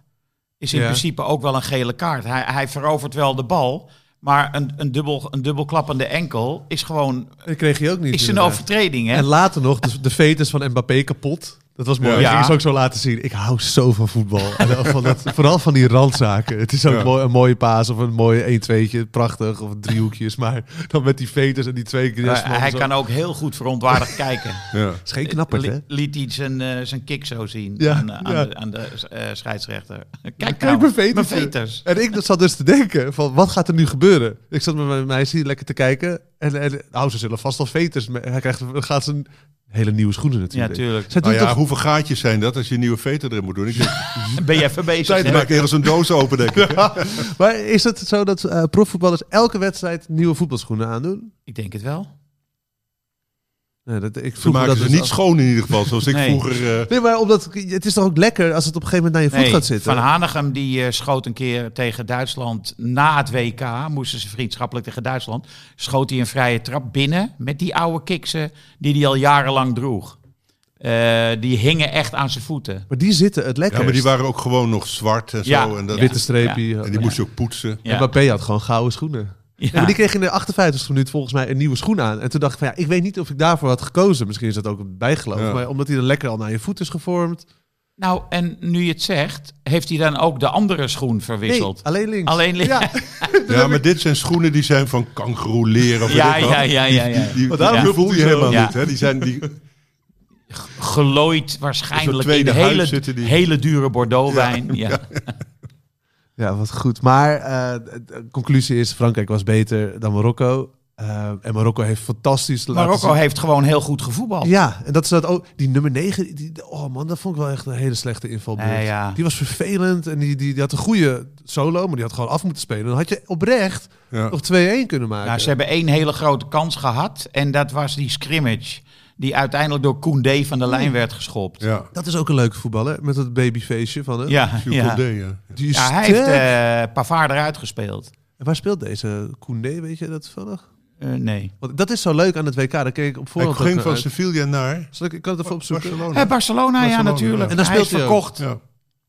Speaker 3: is in
Speaker 2: Ja.
Speaker 3: principe ook wel een gele kaart. Hij, hij verovert wel de bal, maar een, een, dubbel, een dubbelklappende enkel is gewoon
Speaker 2: Dat kreeg je ook niet.
Speaker 3: is een
Speaker 1: nou
Speaker 2: inderdaad.
Speaker 3: overtreding. Hè?
Speaker 2: En later nog, de, de fetus van Mbappé kapot. Dat was mooi.
Speaker 3: Ja.
Speaker 2: Ja. Dat
Speaker 3: Ja.
Speaker 2: ging ze ook zo laten zien. Ik hou zo van voetbal. En van dat, vooral van die randzaken. Het is ook
Speaker 1: Ja.
Speaker 2: mooi, een mooie paas of een mooie 1-2'tje. Prachtig. Of driehoekjes. Maar dan met die fetus en die twee keer.
Speaker 3: Maar Eh, hij kan ook heel goed verontwaardigd kijken.
Speaker 1: Ja. Nou
Speaker 2: is geen knapperd,
Speaker 3: Li-
Speaker 2: hè?
Speaker 3: liet hij zijn, eh, zijn kick zo zien
Speaker 2: Ja,
Speaker 3: aan, aan
Speaker 2: ja.
Speaker 3: de, aan de eh, scheidsrechter. Kijk,
Speaker 2: Kijk,
Speaker 3: nou,
Speaker 2: mijn vetertje.
Speaker 3: veters.
Speaker 2: En ik zat dus te denken, van wat gaat er nu gebeuren? Ik zat met mijn meisje hier lekker te kijken. En, en nou, ze zullen vast al veters... me- Hij krijgt, dan gaat ze een hele nieuwe schoenen
Speaker 3: Ja,
Speaker 2: natuurlijk.
Speaker 3: tuurlijk.
Speaker 2: Zij
Speaker 1: Nou
Speaker 2: doen
Speaker 1: ja,
Speaker 2: toch...
Speaker 1: hoeveel gaatjes zijn dat als je een nieuwe veter erin moet doen? Ik denk,
Speaker 3: Ben je even bezig?
Speaker 1: tijd
Speaker 3: hè?
Speaker 1: maakt ergens een doos open, denk ik.
Speaker 2: Maar is het zo dat eh, profvoetballers elke wedstrijd nieuwe voetbalschoenen aandoen?
Speaker 3: Ik denk het wel.
Speaker 2: Nee, dat, ik
Speaker 1: Ze
Speaker 2: vroeg me
Speaker 1: maken
Speaker 2: dat
Speaker 1: ze
Speaker 2: dus
Speaker 1: niet
Speaker 2: af.
Speaker 1: schoon in ieder geval, zoals ik
Speaker 3: Nee.
Speaker 1: vroeger... eh,
Speaker 2: Nee, maar omdat, het is toch ook lekker als het op een gegeven moment naar je voet
Speaker 3: Nee,
Speaker 2: gaat zitten.
Speaker 3: Van Hanegem die eh, schoot een keer tegen Duitsland na het WK. Moesten ze vriendschappelijk tegen Duitsland. Schoot hij een vrije trap binnen met die oude kiksen die hij al jarenlang droeg. Eh, die hingen echt aan zijn voeten.
Speaker 2: maar die zitten het lekker.
Speaker 1: ja, maar die waren ook gewoon nog zwart en zo.
Speaker 3: Ja,
Speaker 1: en, dat,
Speaker 3: ja.
Speaker 2: Witte streepje. eh,
Speaker 1: en die moest je ook poetsen.
Speaker 3: Ja.
Speaker 2: Mbappé had gewoon gouden schoenen.
Speaker 3: Ja.
Speaker 2: Maar die kreeg in de 58 e minuut volgens mij een nieuwe schoen aan. En toen dacht ik van ja, ik weet niet of ik daarvoor had gekozen. Misschien is dat ook een bijgeloof.
Speaker 1: Ja.
Speaker 2: Maar omdat hij dan lekker al naar je voet is gevormd.
Speaker 3: Nou, en nu je het zegt, heeft hij dan ook de andere schoen
Speaker 2: Nee,
Speaker 3: verwisseld?
Speaker 2: alleen links.
Speaker 3: Alleen links.
Speaker 2: Ja,
Speaker 1: Ja, maar dit zijn schoenen die zijn van kangeroeleren. of
Speaker 3: Ja,
Speaker 1: weet ik wat.
Speaker 3: ja, ja, ja, ja.
Speaker 1: Die, die,
Speaker 2: Want daarom
Speaker 1: die voel
Speaker 2: voelt
Speaker 1: je
Speaker 2: hij zo.
Speaker 1: helemaal
Speaker 3: Ja.
Speaker 1: niet. Hè? Die zijn, die,
Speaker 3: Gelooid
Speaker 1: Een soort
Speaker 3: waarschijnlijk in
Speaker 1: tweede
Speaker 3: de
Speaker 1: huid
Speaker 3: hele,
Speaker 1: zitten die.
Speaker 3: hele dure Bordeaux-wijn. Ja.
Speaker 2: ja wat goed. Maar eh, de conclusie is, Frankrijk was beter dan Marokko. Eh, en Marokko heeft fantastisch laten
Speaker 3: Marokko
Speaker 2: zien-
Speaker 3: heeft gewoon heel goed gevoetbald.
Speaker 2: Ja, en dat is dat ook. Die nummer 9, die, oh man, dat vond ik wel echt een hele slechte invalbeurt.
Speaker 3: Nee, Eh, ja.
Speaker 2: Die was vervelend en die, die, die had een goede solo, maar die had gewoon af moeten spelen. Dan had je oprecht
Speaker 1: ja.
Speaker 2: nog 2-1 kunnen maken.
Speaker 3: Nou, ze hebben één hele grote kans gehad. En dat was die scrimmage. Die uiteindelijk door Koundé van de lijn werd geschopt. Ja,
Speaker 1: ja.
Speaker 2: Dat is ook een leuke voetballer met dat babyfeestje van hem.
Speaker 3: ja.
Speaker 1: Jules Condé, ja.
Speaker 2: Die is
Speaker 3: Ja, hij
Speaker 2: sterk.
Speaker 3: heeft eh Pavard eruit gespeeld.
Speaker 2: En waar speelt deze Koundé, weet je dat toevallig?
Speaker 3: Eh, nee.
Speaker 2: Want dat is zo leuk aan het WK, daar keek ik op
Speaker 1: Hij
Speaker 2: voorhand ook
Speaker 1: ging
Speaker 2: naar
Speaker 1: van
Speaker 2: uit.
Speaker 1: Sevilla naar
Speaker 2: Zal ik, ik kan het even opzoeken.
Speaker 1: Barcelona.
Speaker 3: Eh, Barcelona, ja,
Speaker 1: Barcelona,
Speaker 3: natuurlijk.
Speaker 1: ja.
Speaker 2: En dan
Speaker 3: hij is
Speaker 2: speelt hij ook.
Speaker 3: verkocht.
Speaker 1: Ja.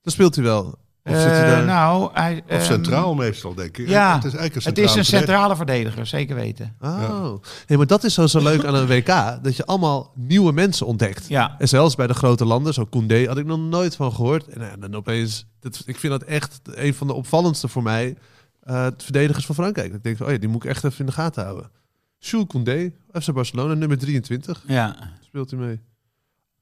Speaker 2: Dan speelt hij wel. Of zit hij
Speaker 3: Eh,
Speaker 2: daar?
Speaker 3: nou, hij,
Speaker 1: Of
Speaker 3: ehm,
Speaker 1: centraal meestal, denk ik.
Speaker 3: ja,
Speaker 1: het is eigenlijk een
Speaker 3: Het is een
Speaker 1: verdediger.
Speaker 3: centrale verdediger, zeker weten.
Speaker 2: Oh. Hey, maar dat is zo, zo leuk aan een WK, dat je allemaal nieuwe mensen ontdekt.
Speaker 3: Ja.
Speaker 2: En zelfs bij de grote landen, zo Koundé, had ik nog nooit van gehoord. En eh, dan opeens, dat, ik vind dat echt een van de opvallendste voor mij, eh, het verdedigers van Frankrijk. Ik denk, van, oh ja, die moet ik echt even in de gaten houden. Jules Koundé, FC Barcelona, nummer 23,
Speaker 3: Ja,
Speaker 2: speelt hij mee.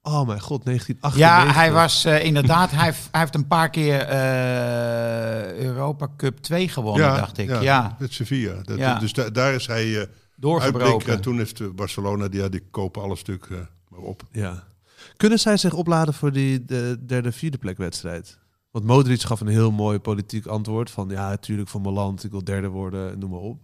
Speaker 2: Oh mijn god, 1998.
Speaker 3: ja hij was eh, inderdaad... hij, heeft, hij heeft een paar keer eh, Europa Cup 2 gewonnen, dacht ik. Ja,
Speaker 1: met Sevilla. Dat,
Speaker 3: Ja.
Speaker 1: Dus da- daar is hij eh, uitblik.
Speaker 3: doorgebroken.
Speaker 1: En toen heeft eh, Barcelona, die, ja, die kopen alles stuk eh, maar op.
Speaker 2: Ja. Kunnen zij zich opladen voor die de derde, vierde plek wedstrijd? Want Modric gaf een heel mooi politiek antwoord van ja, natuurlijk voor mijn land, ik wil derde worden, en noem maar op.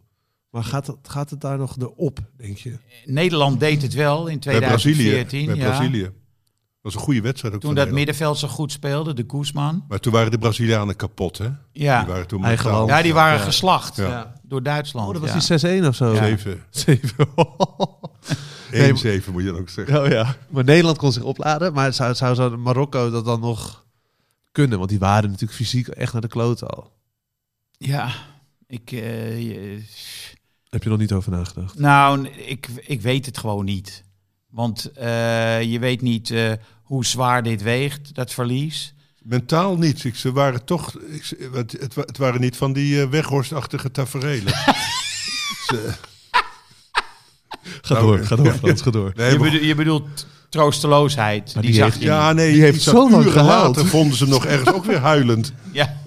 Speaker 2: Maar gaat het, gaat het daar nog erop, denk je?
Speaker 3: Nederland deed het wel in
Speaker 1: Bij Brazilië.
Speaker 3: 2014.
Speaker 1: bij
Speaker 3: ja.
Speaker 1: Brazilië. Dat was een goede wedstrijd ook
Speaker 3: Toen
Speaker 1: van
Speaker 3: dat
Speaker 1: Nederland.
Speaker 3: middenveld zo goed speelde, de Koesman.
Speaker 1: Maar toen waren de Brazilianen kapot, hè? Die
Speaker 3: Ja.
Speaker 1: waren toen
Speaker 2: Eigen
Speaker 1: mentaal-
Speaker 2: land.
Speaker 3: ja, die waren
Speaker 2: Ja.
Speaker 3: geslacht
Speaker 1: Ja.
Speaker 3: door Duitsland.
Speaker 2: Oh, dat
Speaker 3: ja.
Speaker 2: was die 6-1 of zo.
Speaker 3: Ja.
Speaker 1: 7.
Speaker 2: 7.
Speaker 1: 1-7 moet je dan ook zeggen.
Speaker 2: oh ja. Maar Nederland kon zich opladen, maar zou, zou, zou Marokko dat dan nog kunnen? Want die waren natuurlijk fysiek echt naar de klote al.
Speaker 3: Ja, ik, eh, je-
Speaker 2: Heb je nog niet over nagedacht?
Speaker 3: nou, ik, ik weet het gewoon niet. Want eh, je weet niet eh, hoe zwaar dit weegt, dat verlies.
Speaker 1: Mentaal niet. Ik, ze waren toch... Ik, ze- het, het, wa- het waren niet van die eh, weghorstachtige taferelen. ze,
Speaker 2: Ga
Speaker 1: Nou,
Speaker 2: door, ga door Frans, ga door.
Speaker 1: nee,
Speaker 3: je,
Speaker 1: maar-
Speaker 3: bedo- je bedoelt troosteloosheid.
Speaker 2: Maar
Speaker 3: die
Speaker 2: die
Speaker 3: zag
Speaker 2: heeft-
Speaker 3: je niet.
Speaker 1: ja, nee.
Speaker 2: Die heeft
Speaker 1: zag
Speaker 2: zo lang
Speaker 1: uren
Speaker 2: gehuild.
Speaker 1: later vonden ze nog ergens ook weer huilend.
Speaker 3: Ja.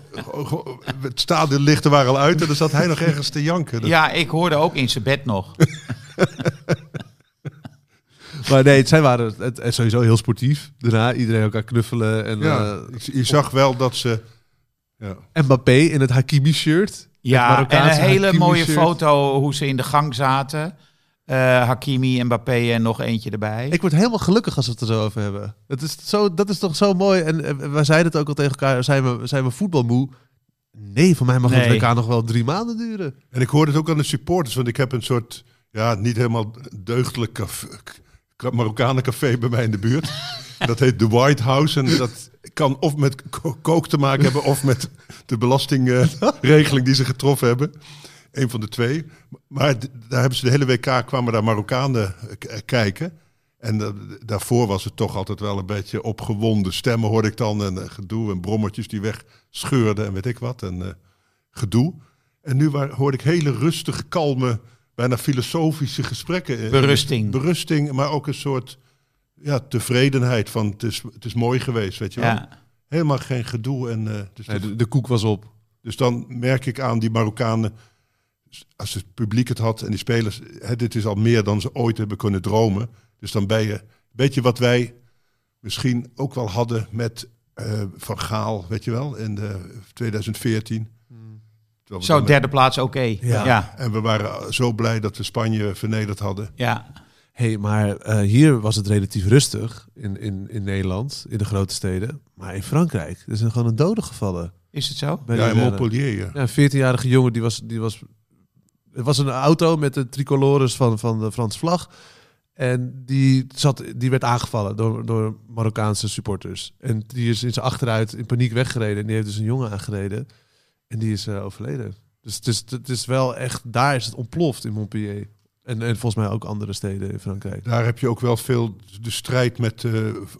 Speaker 1: Het stadionlichten waren al uit en dan zat hij nog ergens te janken. Dat-
Speaker 3: ja, ik hoorde ook in zijn bed nog.
Speaker 2: Maar nee, het- zij waren het, het sowieso heel sportief. Daarna iedereen elkaar knuffelen. En,
Speaker 1: Ja,
Speaker 2: eh,
Speaker 1: ik- je zag wel dat ze... Ja.
Speaker 2: Mbappé in het Hakimi-shirt.
Speaker 3: Ja, en
Speaker 2: Marokkaanse
Speaker 3: een hele
Speaker 2: Hakimi
Speaker 3: mooie
Speaker 2: shirt.
Speaker 3: foto hoe ze in de gang zaten. Eh Hakimi, Mbappé en nog eentje erbij.
Speaker 2: Ik word helemaal gelukkig als we het er zo over hebben. Het is zo, dat is toch zo mooi. En eh, wij zeiden het ook al tegen elkaar. Zijn we, zijn we voetbalmoe? Nee, voor mij mag
Speaker 3: Nee.
Speaker 2: het WK nog wel drie maanden duren.
Speaker 1: En ik hoorde het ook aan de supporters, want ik heb een soort, ja, niet helemaal deugdelijk café, k- Marokkanencafé bij mij in de buurt. dat heet de White House en dat kan of met ko- kook te maken hebben of met de belastingregeling die ze getroffen hebben. Een van de twee. Maar d- daar hebben ze de hele WK kwamen daar Marokkanen eh, k- eh, kijken. En eh, daarvoor was het toch altijd wel een beetje opgewonden. Stemmen hoorde ik dan en eh, gedoe en brommetjes die wegscheurden en weet ik wat. En eh, gedoe. En nu waar, hoorde ik hele rustige, kalme, bijna filosofische gesprekken. eh,
Speaker 3: Berusting.
Speaker 1: Berusting, maar ook een soort ja, tevredenheid van het is, het is mooi geweest, weet je wel.
Speaker 3: ja.
Speaker 1: Helemaal geen gedoe. En, eh, dus, de-
Speaker 2: de, koek was op.
Speaker 1: dus dan merk ik aan die Marokkanen, als het publiek het had en die spelers, hè, dit is al meer dan ze ooit hebben kunnen dromen. Dus dan ben je, een beetje wat wij misschien ook wel hadden met eh, Van Gaal, weet je wel, in de 2014. Terwijl we
Speaker 3: Zo,
Speaker 1: dan met-
Speaker 3: derde plaats, oké. Ja.
Speaker 2: Ja.
Speaker 3: Ja.
Speaker 1: en we waren zo blij dat we Spanje vernederd hadden.
Speaker 3: Ja.
Speaker 2: hey, maar eh, hier was het relatief rustig in, in, in Nederland, in de grote steden. Maar in Frankrijk, er zijn gewoon een doden gevallen.
Speaker 3: Is het zo?
Speaker 2: Bij
Speaker 1: Ja,
Speaker 2: de
Speaker 1: in
Speaker 2: rellen.
Speaker 1: Montpellier. ja.
Speaker 2: Ja, een 14-jarige jongen die was, die was. Het was een auto met de tricolores van, van de Franse vlag. En die, zat, die werd aangevallen door, door Marokkaanse supporters. En die is in zijn achteruit in paniek weggereden. En die heeft dus een jongen aangereden. En die is eh, overleden. Dus het is, het is wel echt, daar is het ontploft in Montpellier. En, en volgens mij ook andere steden in Frankrijk.
Speaker 1: Daar heb je ook wel veel de strijd met eh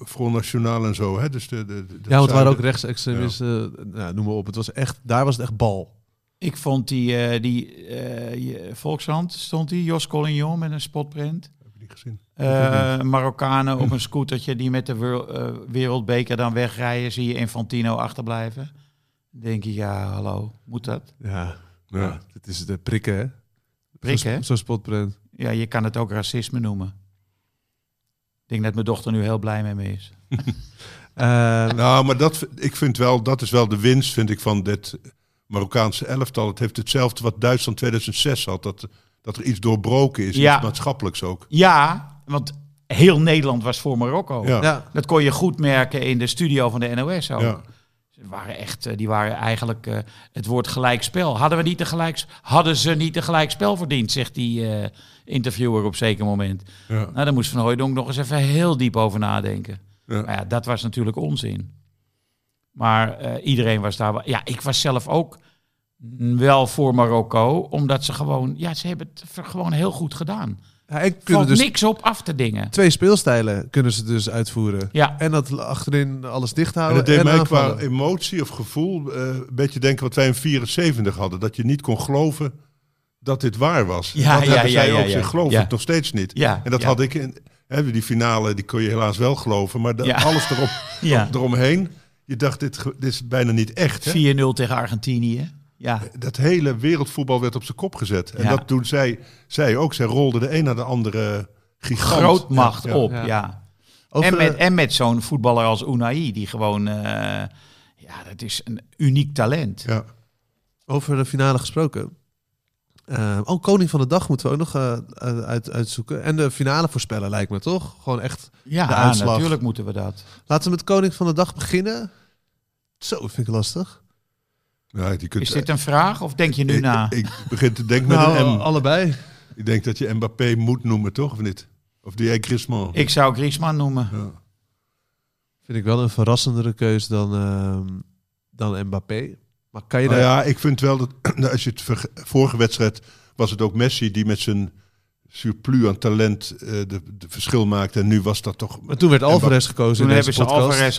Speaker 1: Front National en zo. Hè? Dus de, de, de- dat
Speaker 2: Ja, want het waren ook
Speaker 1: zuiden-
Speaker 2: rechtsextremisten. Nou, noem maar op. Het was echt, daar was het echt bal.
Speaker 3: Ik vond die, eh, die eh, je- Volkshand, stond die, Jos Collignon met een spotprint.
Speaker 1: Heb ik niet gezien.
Speaker 3: Eh Marokkanen op een scootertje die met de werel- eh, wereldbeker dan wegrijden. Zie je Infantino achterblijven. Dan denk je, ja, hallo, moet dat?
Speaker 2: Ja,
Speaker 1: Ja.
Speaker 2: ja. het is de prikken, hè?
Speaker 3: Prikken,
Speaker 2: Zo'n
Speaker 3: hè?
Speaker 2: sp- Zo'n spotprint.
Speaker 3: Ja, je kan het ook racisme noemen. Ik denk dat mijn dochter nu heel blij mee me is.
Speaker 2: Eh,
Speaker 1: Nou, maar dat, ik vind wel, dat is wel de winst vind ik, van dit Marokkaanse elftal. Het heeft hetzelfde wat Duitsland 2006 had. Dat, dat er iets doorbroken is,
Speaker 3: Ja.
Speaker 1: iets maatschappelijks ook.
Speaker 3: Ja, want heel Nederland was voor Marokko.
Speaker 1: Ja.
Speaker 2: ja.
Speaker 3: Dat kon je goed merken in de studio van de NOS ook.
Speaker 1: Ja.
Speaker 3: Ze waren echt, eh, die waren eigenlijk eh, het woord gelijkspel. Hadden, we niet de gelijks, hadden ze niet een gelijkspel verdiend, zegt die eh, interviewer op zeker moment.
Speaker 1: Ja.
Speaker 3: Nou, daar moest Van Hooijdonk nog eens even heel diep over nadenken.
Speaker 1: Ja.
Speaker 3: Maar ja, dat was natuurlijk onzin. Maar eh, iedereen was daar... wel- Ja, ik was zelf ook wel voor Marokko, omdat ze gewoon... Ja, ze hebben het ver- gewoon heel goed gedaan.
Speaker 2: Ja, en
Speaker 3: Er
Speaker 2: kunnen dus
Speaker 3: niks op af te dingen.
Speaker 2: twee speelstijlen kunnen ze dus uitvoeren.
Speaker 3: Ja,
Speaker 2: En dat achterin alles dicht
Speaker 1: En
Speaker 2: houden.
Speaker 1: dat deed mij qua
Speaker 2: aanvallen.
Speaker 1: emotie of gevoel eh, een beetje denken wat wij in 74 hadden. Dat je niet kon geloven dat dit waar was.
Speaker 3: Ja,
Speaker 1: dat
Speaker 3: ja,
Speaker 1: hebben
Speaker 3: ja,
Speaker 1: zij
Speaker 3: ja,
Speaker 1: ook.
Speaker 3: ja.
Speaker 1: Ze geloven
Speaker 3: Ja.
Speaker 1: het nog steeds niet.
Speaker 3: ja.
Speaker 1: En dat
Speaker 3: ja.
Speaker 1: had ik in hè, die finale, die kon je helaas wel geloven. Maar de-
Speaker 3: Ja.
Speaker 1: alles erop,
Speaker 3: Ja.
Speaker 1: eromheen, je dacht, dit, ge- dit is bijna niet echt. Hè?
Speaker 3: 4-0 tegen Argentinië. Ja,
Speaker 1: Dat hele wereldvoetbal werd op zijn kop gezet. En
Speaker 3: Ja.
Speaker 1: dat doen zij, zij ook. Zij rolden de een naar de andere gigant.
Speaker 3: grootmacht
Speaker 1: Ja, ja.
Speaker 3: op,
Speaker 2: Ja.
Speaker 3: ja.
Speaker 2: Over-
Speaker 3: en, met, en met zo'n voetballer als Unai, die gewoon... eh, ja, dat is een uniek talent.
Speaker 1: Ja.
Speaker 2: eh, Over de finale gesproken. Eh, oh, Koning van de Dag moeten we ook nog eh, eh, uit, uitzoeken. En de finale voorspellen lijkt me toch? Gewoon echt.
Speaker 3: Ja,
Speaker 2: De uitslag.
Speaker 3: natuurlijk moeten we dat.
Speaker 2: Laten we met Koning van de Dag beginnen. Zo, vind ik lastig.
Speaker 1: Ja, die kunt,
Speaker 3: Is dit een vraag of denk je nu
Speaker 1: ik,
Speaker 3: na?
Speaker 1: ik begin te denken met
Speaker 2: nou,
Speaker 1: een M.
Speaker 2: allebei.
Speaker 1: Ik denk dat je Mbappé moet noemen, toch? Of niet? Of die Griezmann.
Speaker 3: Ik zou Griezmann noemen.
Speaker 1: Ja.
Speaker 2: Vind ik wel een verrassendere keus dan, ehm, dan Mbappé. Maar kan je
Speaker 1: Nou
Speaker 2: daar...
Speaker 1: ja, ik vind wel dat nou, als je het verge- vorige wedstrijd was het ook Messi die met zijn surplus aan talent eh, de, de verschil maakte. En nu was dat toch.
Speaker 2: Maar toen werd
Speaker 1: Mbappé-
Speaker 2: Alvarez dus, eh, gekozen
Speaker 3: Toen
Speaker 2: in
Speaker 3: hebben
Speaker 2: deze
Speaker 3: ze
Speaker 2: podcast.
Speaker 3: Alvarez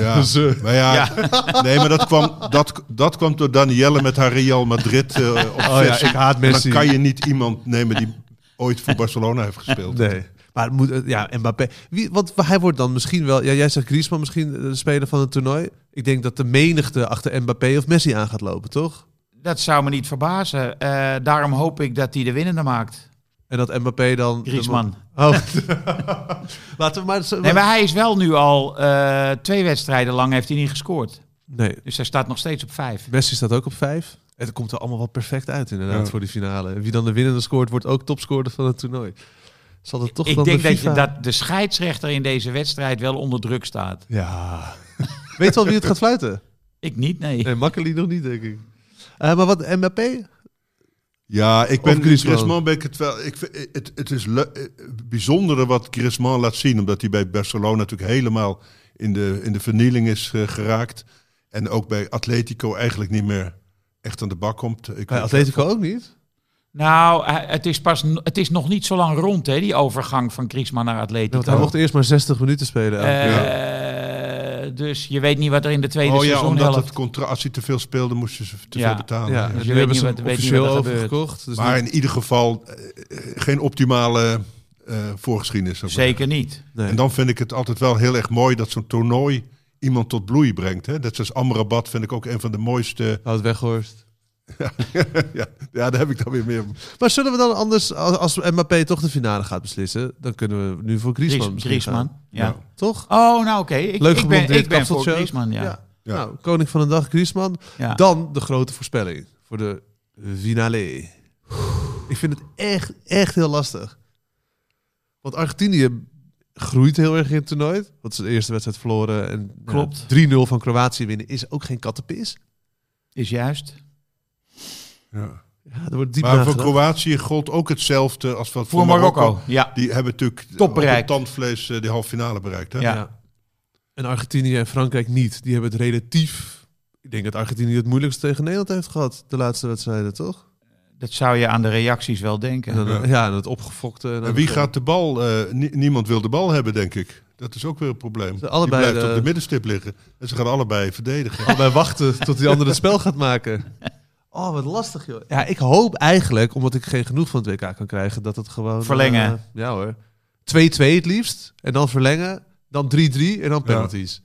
Speaker 1: Ja,
Speaker 2: Ze.
Speaker 1: maar ja, nee, maar dat kwam, dat, dat kwam door Danielle met haar Real Madrid eh op
Speaker 2: Oh ja,
Speaker 1: versie.
Speaker 2: ik haat
Speaker 1: En
Speaker 2: Messi.
Speaker 1: dan kan je niet iemand nemen die ooit voor Barcelona heeft gespeeld.
Speaker 2: Nee. Maar het moet, eh, ja, Mbappé. Wie, want hij wordt dan misschien wel... Ja, jij zegt Griezmann misschien eh, de speler van het toernooi. Ik denk dat de menigte achter Mbappé of Messi aan gaat lopen, toch?
Speaker 3: Dat zou me niet verbazen. Eh, daarom hoop ik dat hij de winnende maakt.
Speaker 2: En dat Mbappé dan...
Speaker 3: Griezmann.
Speaker 2: Oh. Laten we maar... zo-
Speaker 3: Nee, maar hij is wel nu al eh, twee wedstrijden lang heeft hij niet gescoord.
Speaker 2: nee,
Speaker 3: Dus hij staat nog steeds op vijf.
Speaker 2: Messi staat ook op vijf. Het komt er allemaal wel perfect uit inderdaad
Speaker 1: Ja.
Speaker 2: voor die finale. En Wie dan de winnende scoort, wordt ook topscorer van het toernooi. Zal dat toch
Speaker 3: ik
Speaker 2: dan
Speaker 3: denk
Speaker 2: de
Speaker 3: dat, je,
Speaker 2: FIFA
Speaker 3: dat de scheidsrechter in deze wedstrijd wel onder druk staat.
Speaker 2: Ja. Weet wel wie het gaat fluiten?
Speaker 3: Ik niet, nee.
Speaker 2: Nee, Makkeli nog niet, denk ik. Eh, maar wat, Mbappé?
Speaker 1: Ja, ik
Speaker 2: Of
Speaker 1: ben
Speaker 2: Griezmann.
Speaker 1: Griezmann. ben ik het wel. Ik, vind- het, het is le- eh, bijzondere wat Griezmann laat zien, omdat hij bij Barcelona natuurlijk helemaal in de, in de vernieling is eh, geraakt. En ook bij Atletico eigenlijk niet meer echt aan de bak komt. Ik,
Speaker 2: Bij Atletico ook niet.
Speaker 3: Nou, hij- het is, pas, n- het is nog niet zo lang rond, hè, die overgang van Griezmann naar
Speaker 2: Ja, want
Speaker 3: Atletico.
Speaker 2: hij mocht eerst maar 60 minuten spelen. elke keer.
Speaker 3: Eh, Dus je weet niet wat er in de tweede
Speaker 1: oh ja, omdat
Speaker 3: seizoenhelft...
Speaker 1: het contra als hij te veel speelde, moest je ze te
Speaker 3: Ja.
Speaker 1: veel betalen. Ja.
Speaker 2: ja, dus
Speaker 3: je
Speaker 2: nu
Speaker 3: weet
Speaker 2: hebben
Speaker 3: niet
Speaker 2: ze
Speaker 3: wat-
Speaker 2: hem
Speaker 3: weet niet
Speaker 2: officieel
Speaker 3: wat er gebeurt.
Speaker 2: overgekocht. Dus
Speaker 1: Maar
Speaker 2: nu-
Speaker 1: in ieder geval eh, eh, geen optimale eh, voorgeschiedenis. zeg maar.
Speaker 3: Zeker niet.
Speaker 2: nee.
Speaker 1: En dan vind ik het altijd wel heel erg mooi dat zo'n toernooi iemand tot bloei brengt. Hè? Dat is Amrabat, vind ik ook een van de mooiste.
Speaker 2: Houd weghorst.
Speaker 1: ja, ja, daar heb ik dan weer meer.
Speaker 2: Maar zullen we dan anders, als, als Mbappé toch de finale gaat beslissen, dan kunnen we nu voor Griezmann
Speaker 3: Griez-
Speaker 2: misschien gaan.
Speaker 3: Griezmann, ja.
Speaker 1: Ja.
Speaker 2: Toch?
Speaker 3: Oh, nou oké. Ik,
Speaker 2: Leuk
Speaker 3: ik ben,
Speaker 2: geblondeerd
Speaker 3: ik ben voor
Speaker 2: kapseltje.
Speaker 3: Griezmann, ja.
Speaker 2: Ja.
Speaker 1: Ja.
Speaker 2: Nou, koning van de dag Griezmann.
Speaker 3: Ja.
Speaker 2: Dan de grote voorspelling voor de finale. Ik vind het echt, echt heel lastig. Want Argentinië groeit heel erg in het toernooi. Want ze de eerste wedstrijd verloren. En ja,
Speaker 3: Klopt.
Speaker 2: 3-0 van Kroatië winnen is ook geen kattenpis.
Speaker 3: Is juist.
Speaker 1: Ja.
Speaker 2: Ja, er wordt diep
Speaker 1: Maar voor
Speaker 2: nagedacht.
Speaker 1: Kroatië gold ook hetzelfde als wat
Speaker 3: Voor Marokko. Ja.
Speaker 1: Die hebben natuurlijk eh,
Speaker 3: Top
Speaker 1: op
Speaker 3: bereikt.
Speaker 1: het tandvlees eh, die halve finale bereikt. Hè?
Speaker 3: Ja.
Speaker 2: En Argentinië en Frankrijk niet. Die hebben het relatief... Ik denk dat Argentinië het moeilijkste tegen Nederland heeft gehad. De laatste wedstrijden, toch?
Speaker 3: Dat zou je aan de reacties wel denken.
Speaker 2: En dan,
Speaker 1: Ja.
Speaker 2: ja. en het opgefokte.
Speaker 1: En wie gaat de bal? eh, nie- niemand wil de bal hebben, denk ik. Dat is ook weer een probleem.
Speaker 2: Ze allebei
Speaker 1: die blijft
Speaker 2: de-
Speaker 1: op de middenstip liggen. En ze gaan allebei verdedigen.
Speaker 2: Allebei wachten tot die ander het spel gaat maken. Oh, wat lastig, joh. Ja, ik hoop eigenlijk, omdat ik geen genoeg van het WK kan krijgen, dat het gewoon...
Speaker 3: Verlengen.
Speaker 2: eh, ja hoor. 2-2 het liefst. En dan verlengen. Dan 3-3 en dan penalties.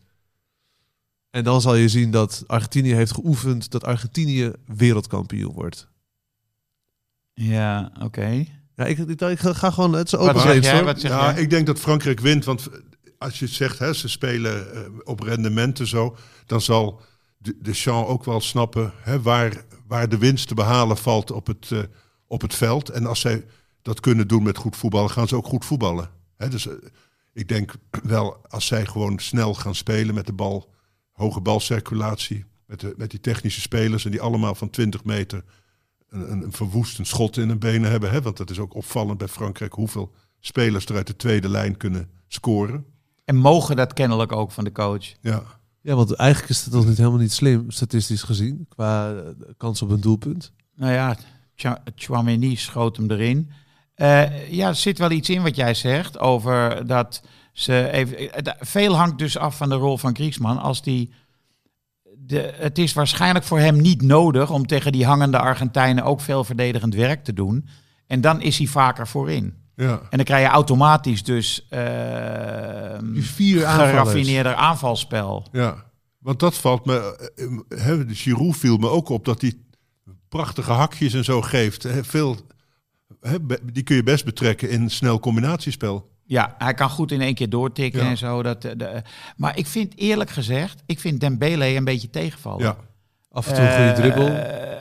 Speaker 2: En dan zal je zien dat Argentinië heeft geoefend dat Argentinië wereldkampioen wordt.
Speaker 3: Ja, oké.
Speaker 2: Ja, ik, ik, ik ga gewoon... Het is open
Speaker 3: Wat zeg
Speaker 2: race,
Speaker 3: jij?
Speaker 2: hoor.
Speaker 3: Wat zeg
Speaker 1: ja,
Speaker 3: jij?
Speaker 1: ik denk dat Frankrijk wint. Want als je het zegt, hè, ze spelen eh, op rendementen zo. Dan zal de Deschamps ook wel snappen hè, waar, waar de winst te behalen valt op het, eh, op het veld. En als zij dat kunnen doen met goed voetballen, gaan ze ook goed voetballen. Hè, dus eh, ik denk wel, als zij gewoon snel gaan spelen met de bal, hoge balcirculatie, met, de, met die technische spelers en die allemaal van 20 meter een, een, een verwoestend schot in hun benen hebben. Hè, want dat is ook opvallend bij Frankrijk hoeveel spelers er uit de tweede lijn kunnen scoren.
Speaker 3: En mogen dat kennelijk ook van de coach.
Speaker 1: Ja.
Speaker 2: Ja, want eigenlijk is het nog niet helemaal niet slim, statistisch gezien, qua eh, kans op een doelpunt.
Speaker 3: Nou ja, Tja- Tchouameni schoot hem erin. Eh, ja, er zit wel iets in wat jij zegt over dat ze even. eh, da- Veel hangt dus af van de rol van Griezmann. Als die. De, het is waarschijnlijk voor hem niet nodig om tegen die hangende Argentijnen ook veel verdedigend werk te doen. En dan is hij vaker voorin.
Speaker 1: Ja.
Speaker 3: En dan krijg je automatisch dus eh,
Speaker 2: Die Dus vier aanvallers.
Speaker 3: geraffineerder aanvalsspel.
Speaker 1: Ja, want dat valt me. eh, eh, hè, de Giroud viel me ook op dat hij prachtige hakjes en zo geeft. Hè, Veel, hè, be- die kun je best betrekken in snel combinatiespel.
Speaker 3: Ja, hij kan goed in één keer doortikken
Speaker 1: Ja.
Speaker 3: en zo. Dat, eh, de, maar ik vind eerlijk gezegd, ik vind Dembele een beetje tegenvallen.
Speaker 1: Ja,
Speaker 2: Af en toe een goede
Speaker 3: Eh,
Speaker 2: dribbel.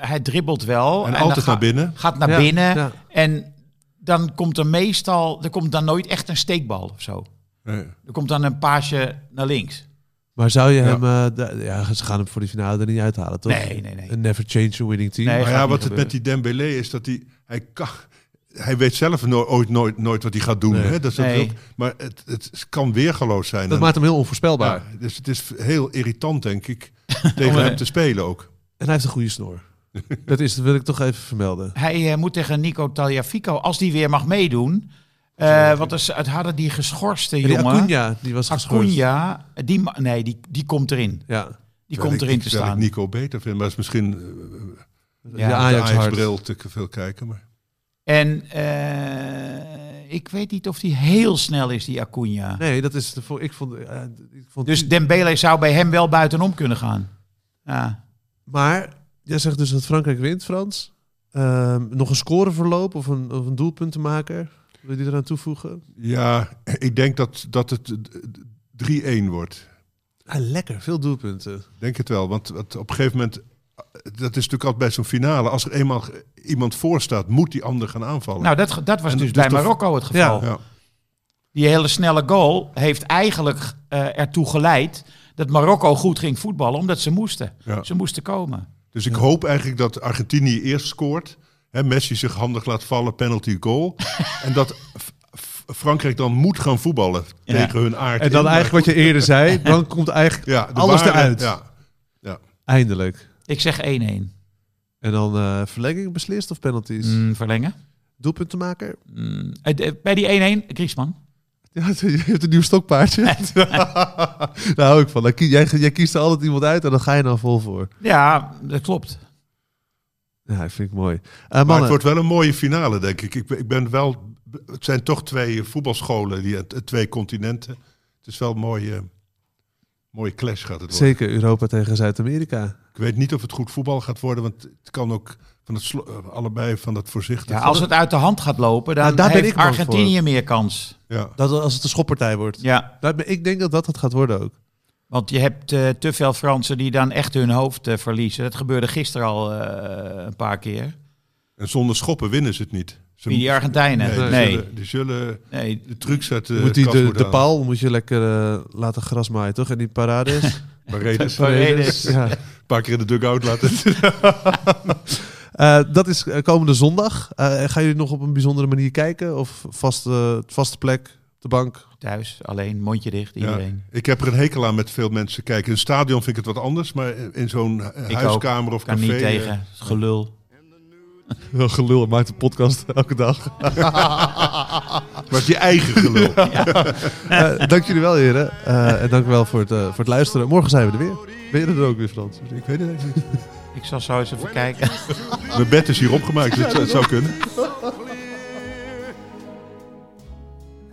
Speaker 3: hij dribbelt wel.
Speaker 1: en
Speaker 3: Oh, dan
Speaker 1: altijd
Speaker 3: ga-
Speaker 1: naar binnen.
Speaker 3: Gaat naar
Speaker 2: Ja,
Speaker 3: binnen.
Speaker 2: ja.
Speaker 3: En dan komt er meestal, er komt dan nooit echt een steekbal of zo.
Speaker 1: Nee.
Speaker 3: Er komt dan een paasje naar links.
Speaker 1: Nou
Speaker 2: Maar zou je
Speaker 1: Ja.
Speaker 2: hem... eh, da- ja, ze gaan hem voor die finale er niet uithalen, toch?
Speaker 3: Nee, nee, nee.
Speaker 2: Een never change a winning team.
Speaker 3: Nee.
Speaker 1: Maar
Speaker 3: gaat
Speaker 1: ja,
Speaker 3: niet
Speaker 1: wat het met die
Speaker 3: gebeuren.
Speaker 1: Dembélé is dat hij. Hij, kan, hij weet zelf no- ooit nooit, nooit wat hij gaat doen.
Speaker 2: Nee.
Speaker 1: Hè? Dat is dat
Speaker 3: Nee.
Speaker 1: ook, maar het, het kan weergeloos zijn.
Speaker 2: Dat
Speaker 1: En-
Speaker 2: maakt hem heel onvoorspelbaar.
Speaker 1: ja, dus het is heel irritant, denk ik,
Speaker 3: Oh,
Speaker 1: tegen hem te spelen ook.
Speaker 2: En hij heeft een goede snor. dat, is, dat wil ik toch even vermelden.
Speaker 3: Hij eh, moet tegen Nico Taliafico, als die weer mag meedoen. eh, want er s- het hadden die geschorste
Speaker 2: En die
Speaker 3: jongen.
Speaker 2: Acuna, die was geschorst.
Speaker 3: Acuna, die, ma- nee, die, die komt erin.
Speaker 2: Ja,
Speaker 3: Die
Speaker 1: Terwijl
Speaker 3: komt
Speaker 1: ik-
Speaker 3: erin te
Speaker 1: terwijl
Speaker 3: staan.
Speaker 1: ik Nico beter vind, maar het is misschien eh,
Speaker 2: de
Speaker 3: Ja.
Speaker 1: de
Speaker 2: Ajax hard.
Speaker 1: Ajax-bril te veel kijken. Maar...
Speaker 3: En eh, ik weet niet of die heel snel is, die Acuna.
Speaker 2: Nee, dat is... De, vo- ik vond, eh, ik vond
Speaker 3: Dus Dembele zou bij hem wel buitenom kunnen gaan. Ja.
Speaker 2: Maar jij zegt dus dat Frankrijk wint, Frans. Ehm, nog een scoreverloop of een, of een doelpuntenmaker? Wil je die eraan toevoegen?
Speaker 1: Ja, ik denk dat, dat het eh, 3-1 wordt.
Speaker 2: Ah, lekker, veel doelpunten.
Speaker 1: Denk het wel, want want op een gegeven moment... eh, Dat is natuurlijk altijd bij zo'n finale. Als er eenmaal ge- iemand voor staat, moet die ander gaan aanvallen.
Speaker 3: Nou, dat, ge- dat was
Speaker 1: En
Speaker 3: dus
Speaker 1: dus
Speaker 3: bij
Speaker 1: de-
Speaker 3: Marokko het geval.
Speaker 1: ja.
Speaker 3: Die hele snelle goal heeft eigenlijk eh, ertoe geleid dat Marokko goed ging voetballen, omdat ze moesten.
Speaker 1: Ja.
Speaker 3: Ze moesten komen.
Speaker 1: Dus ik hoop eigenlijk dat Argentinië eerst scoort. Hè, Messi zich handig laat vallen, penalty goal. en dat F- F- Frankrijk dan moet gaan voetballen
Speaker 3: Ja.
Speaker 1: tegen hun aard.
Speaker 2: En dan
Speaker 1: in.
Speaker 2: eigenlijk wat je eerder zei, dan komt eigenlijk
Speaker 1: ja, de
Speaker 2: alles
Speaker 1: ware-
Speaker 2: eruit.
Speaker 1: Ja,
Speaker 2: Eindelijk.
Speaker 3: Ik zeg 1-1.
Speaker 2: En dan eh, verlenging beslist of penalties?
Speaker 3: Mm, verlengen.
Speaker 2: Doelpuntenmaker?
Speaker 3: Mm, eh, eh, bij die 1-1, Griezmann.
Speaker 2: Ja, je hebt een nieuw stokpaardje. Daar hou ik van. Dan kie- Jij, jij kiest er altijd iemand uit en dan ga je dan vol voor.
Speaker 3: Ja, dat klopt.
Speaker 2: Ja, vind ik mooi. Eh,
Speaker 1: maar
Speaker 2: mannen,
Speaker 1: het wordt wel een mooie finale, denk ik. Ik ben, ik ben wel, het zijn toch twee voetbalscholen, die, eh, twee continenten. Het is wel een mooie, mooie clash gaat het worden.
Speaker 2: zeker Europa tegen Zuid-Amerika.
Speaker 1: Ik weet niet of het goed voetbal gaat worden, want het kan ook van het slo- eh, allebei van dat voorzichtig.
Speaker 3: Ja, als het uit de hand gaat lopen, dan
Speaker 2: Nou, daar ben
Speaker 3: heeft
Speaker 2: ik bang
Speaker 3: Argentinië meer kans.
Speaker 1: Ja.
Speaker 2: Dat, als het een schoppartij wordt.
Speaker 3: Ja,
Speaker 2: Daar ben- Nou, Ik denk dat dat het gaat worden ook.
Speaker 3: want je hebt eh, te veel Fransen die dan echt hun hoofd eh, verliezen. Dat gebeurde gisteren al eh, een paar keer.
Speaker 1: En zonder schoppen winnen ze het niet. Ze-
Speaker 3: Wie die Argentijnen.
Speaker 1: Nee,
Speaker 3: Nee,
Speaker 1: Die,
Speaker 3: nee.
Speaker 1: zullen, die zullen de trucs uit de
Speaker 2: moet die
Speaker 1: kast
Speaker 2: de,
Speaker 1: moeten
Speaker 2: de
Speaker 1: halen.
Speaker 2: paal moet je lekker eh, laten grasmaaien, toch? En die parades.
Speaker 1: Paredes, dus-
Speaker 3: Paredes.
Speaker 2: ja.
Speaker 1: een paar keer in de dugout laten.
Speaker 2: Eh, dat is eh, komende zondag. Eh, gaan jullie nog op een bijzondere manier kijken? Of vast, eh, vaste plek, de bank?
Speaker 3: Thuis, alleen, mondje dicht,
Speaker 1: Ja.
Speaker 3: iedereen.
Speaker 1: Ik heb er een hekel aan met veel mensen kijken. In een stadion vind ik het wat anders, maar in zo'n eh,
Speaker 3: Ik
Speaker 1: huiskamer of
Speaker 3: Kan
Speaker 1: café...
Speaker 3: niet
Speaker 1: eh,
Speaker 3: tegen. Gelul.
Speaker 2: Heel gelul, maakt een podcast elke dag.
Speaker 1: Maar het is je eigen gelul.
Speaker 2: Eh, dank jullie wel, heren. Eh, en dank wel voor het, eh, voor het luisteren. Morgen zijn we er weer. Ben je er ook weer, Frans? Ik weet het eigenlijk niet.
Speaker 3: Ik zal zo eens even kijken.
Speaker 1: Mijn bed is hier opgemaakt, dus het, het zou kunnen.
Speaker 4: clear.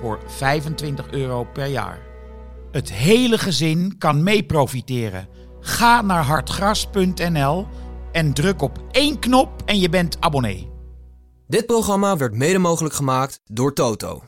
Speaker 3: voor 25 euro per jaar. Het hele gezin kan mee profiteren. Ga naar hartgras.nl en druk op één knop en je bent abonnee.
Speaker 5: Dit programma werd mede mogelijk gemaakt door Toto.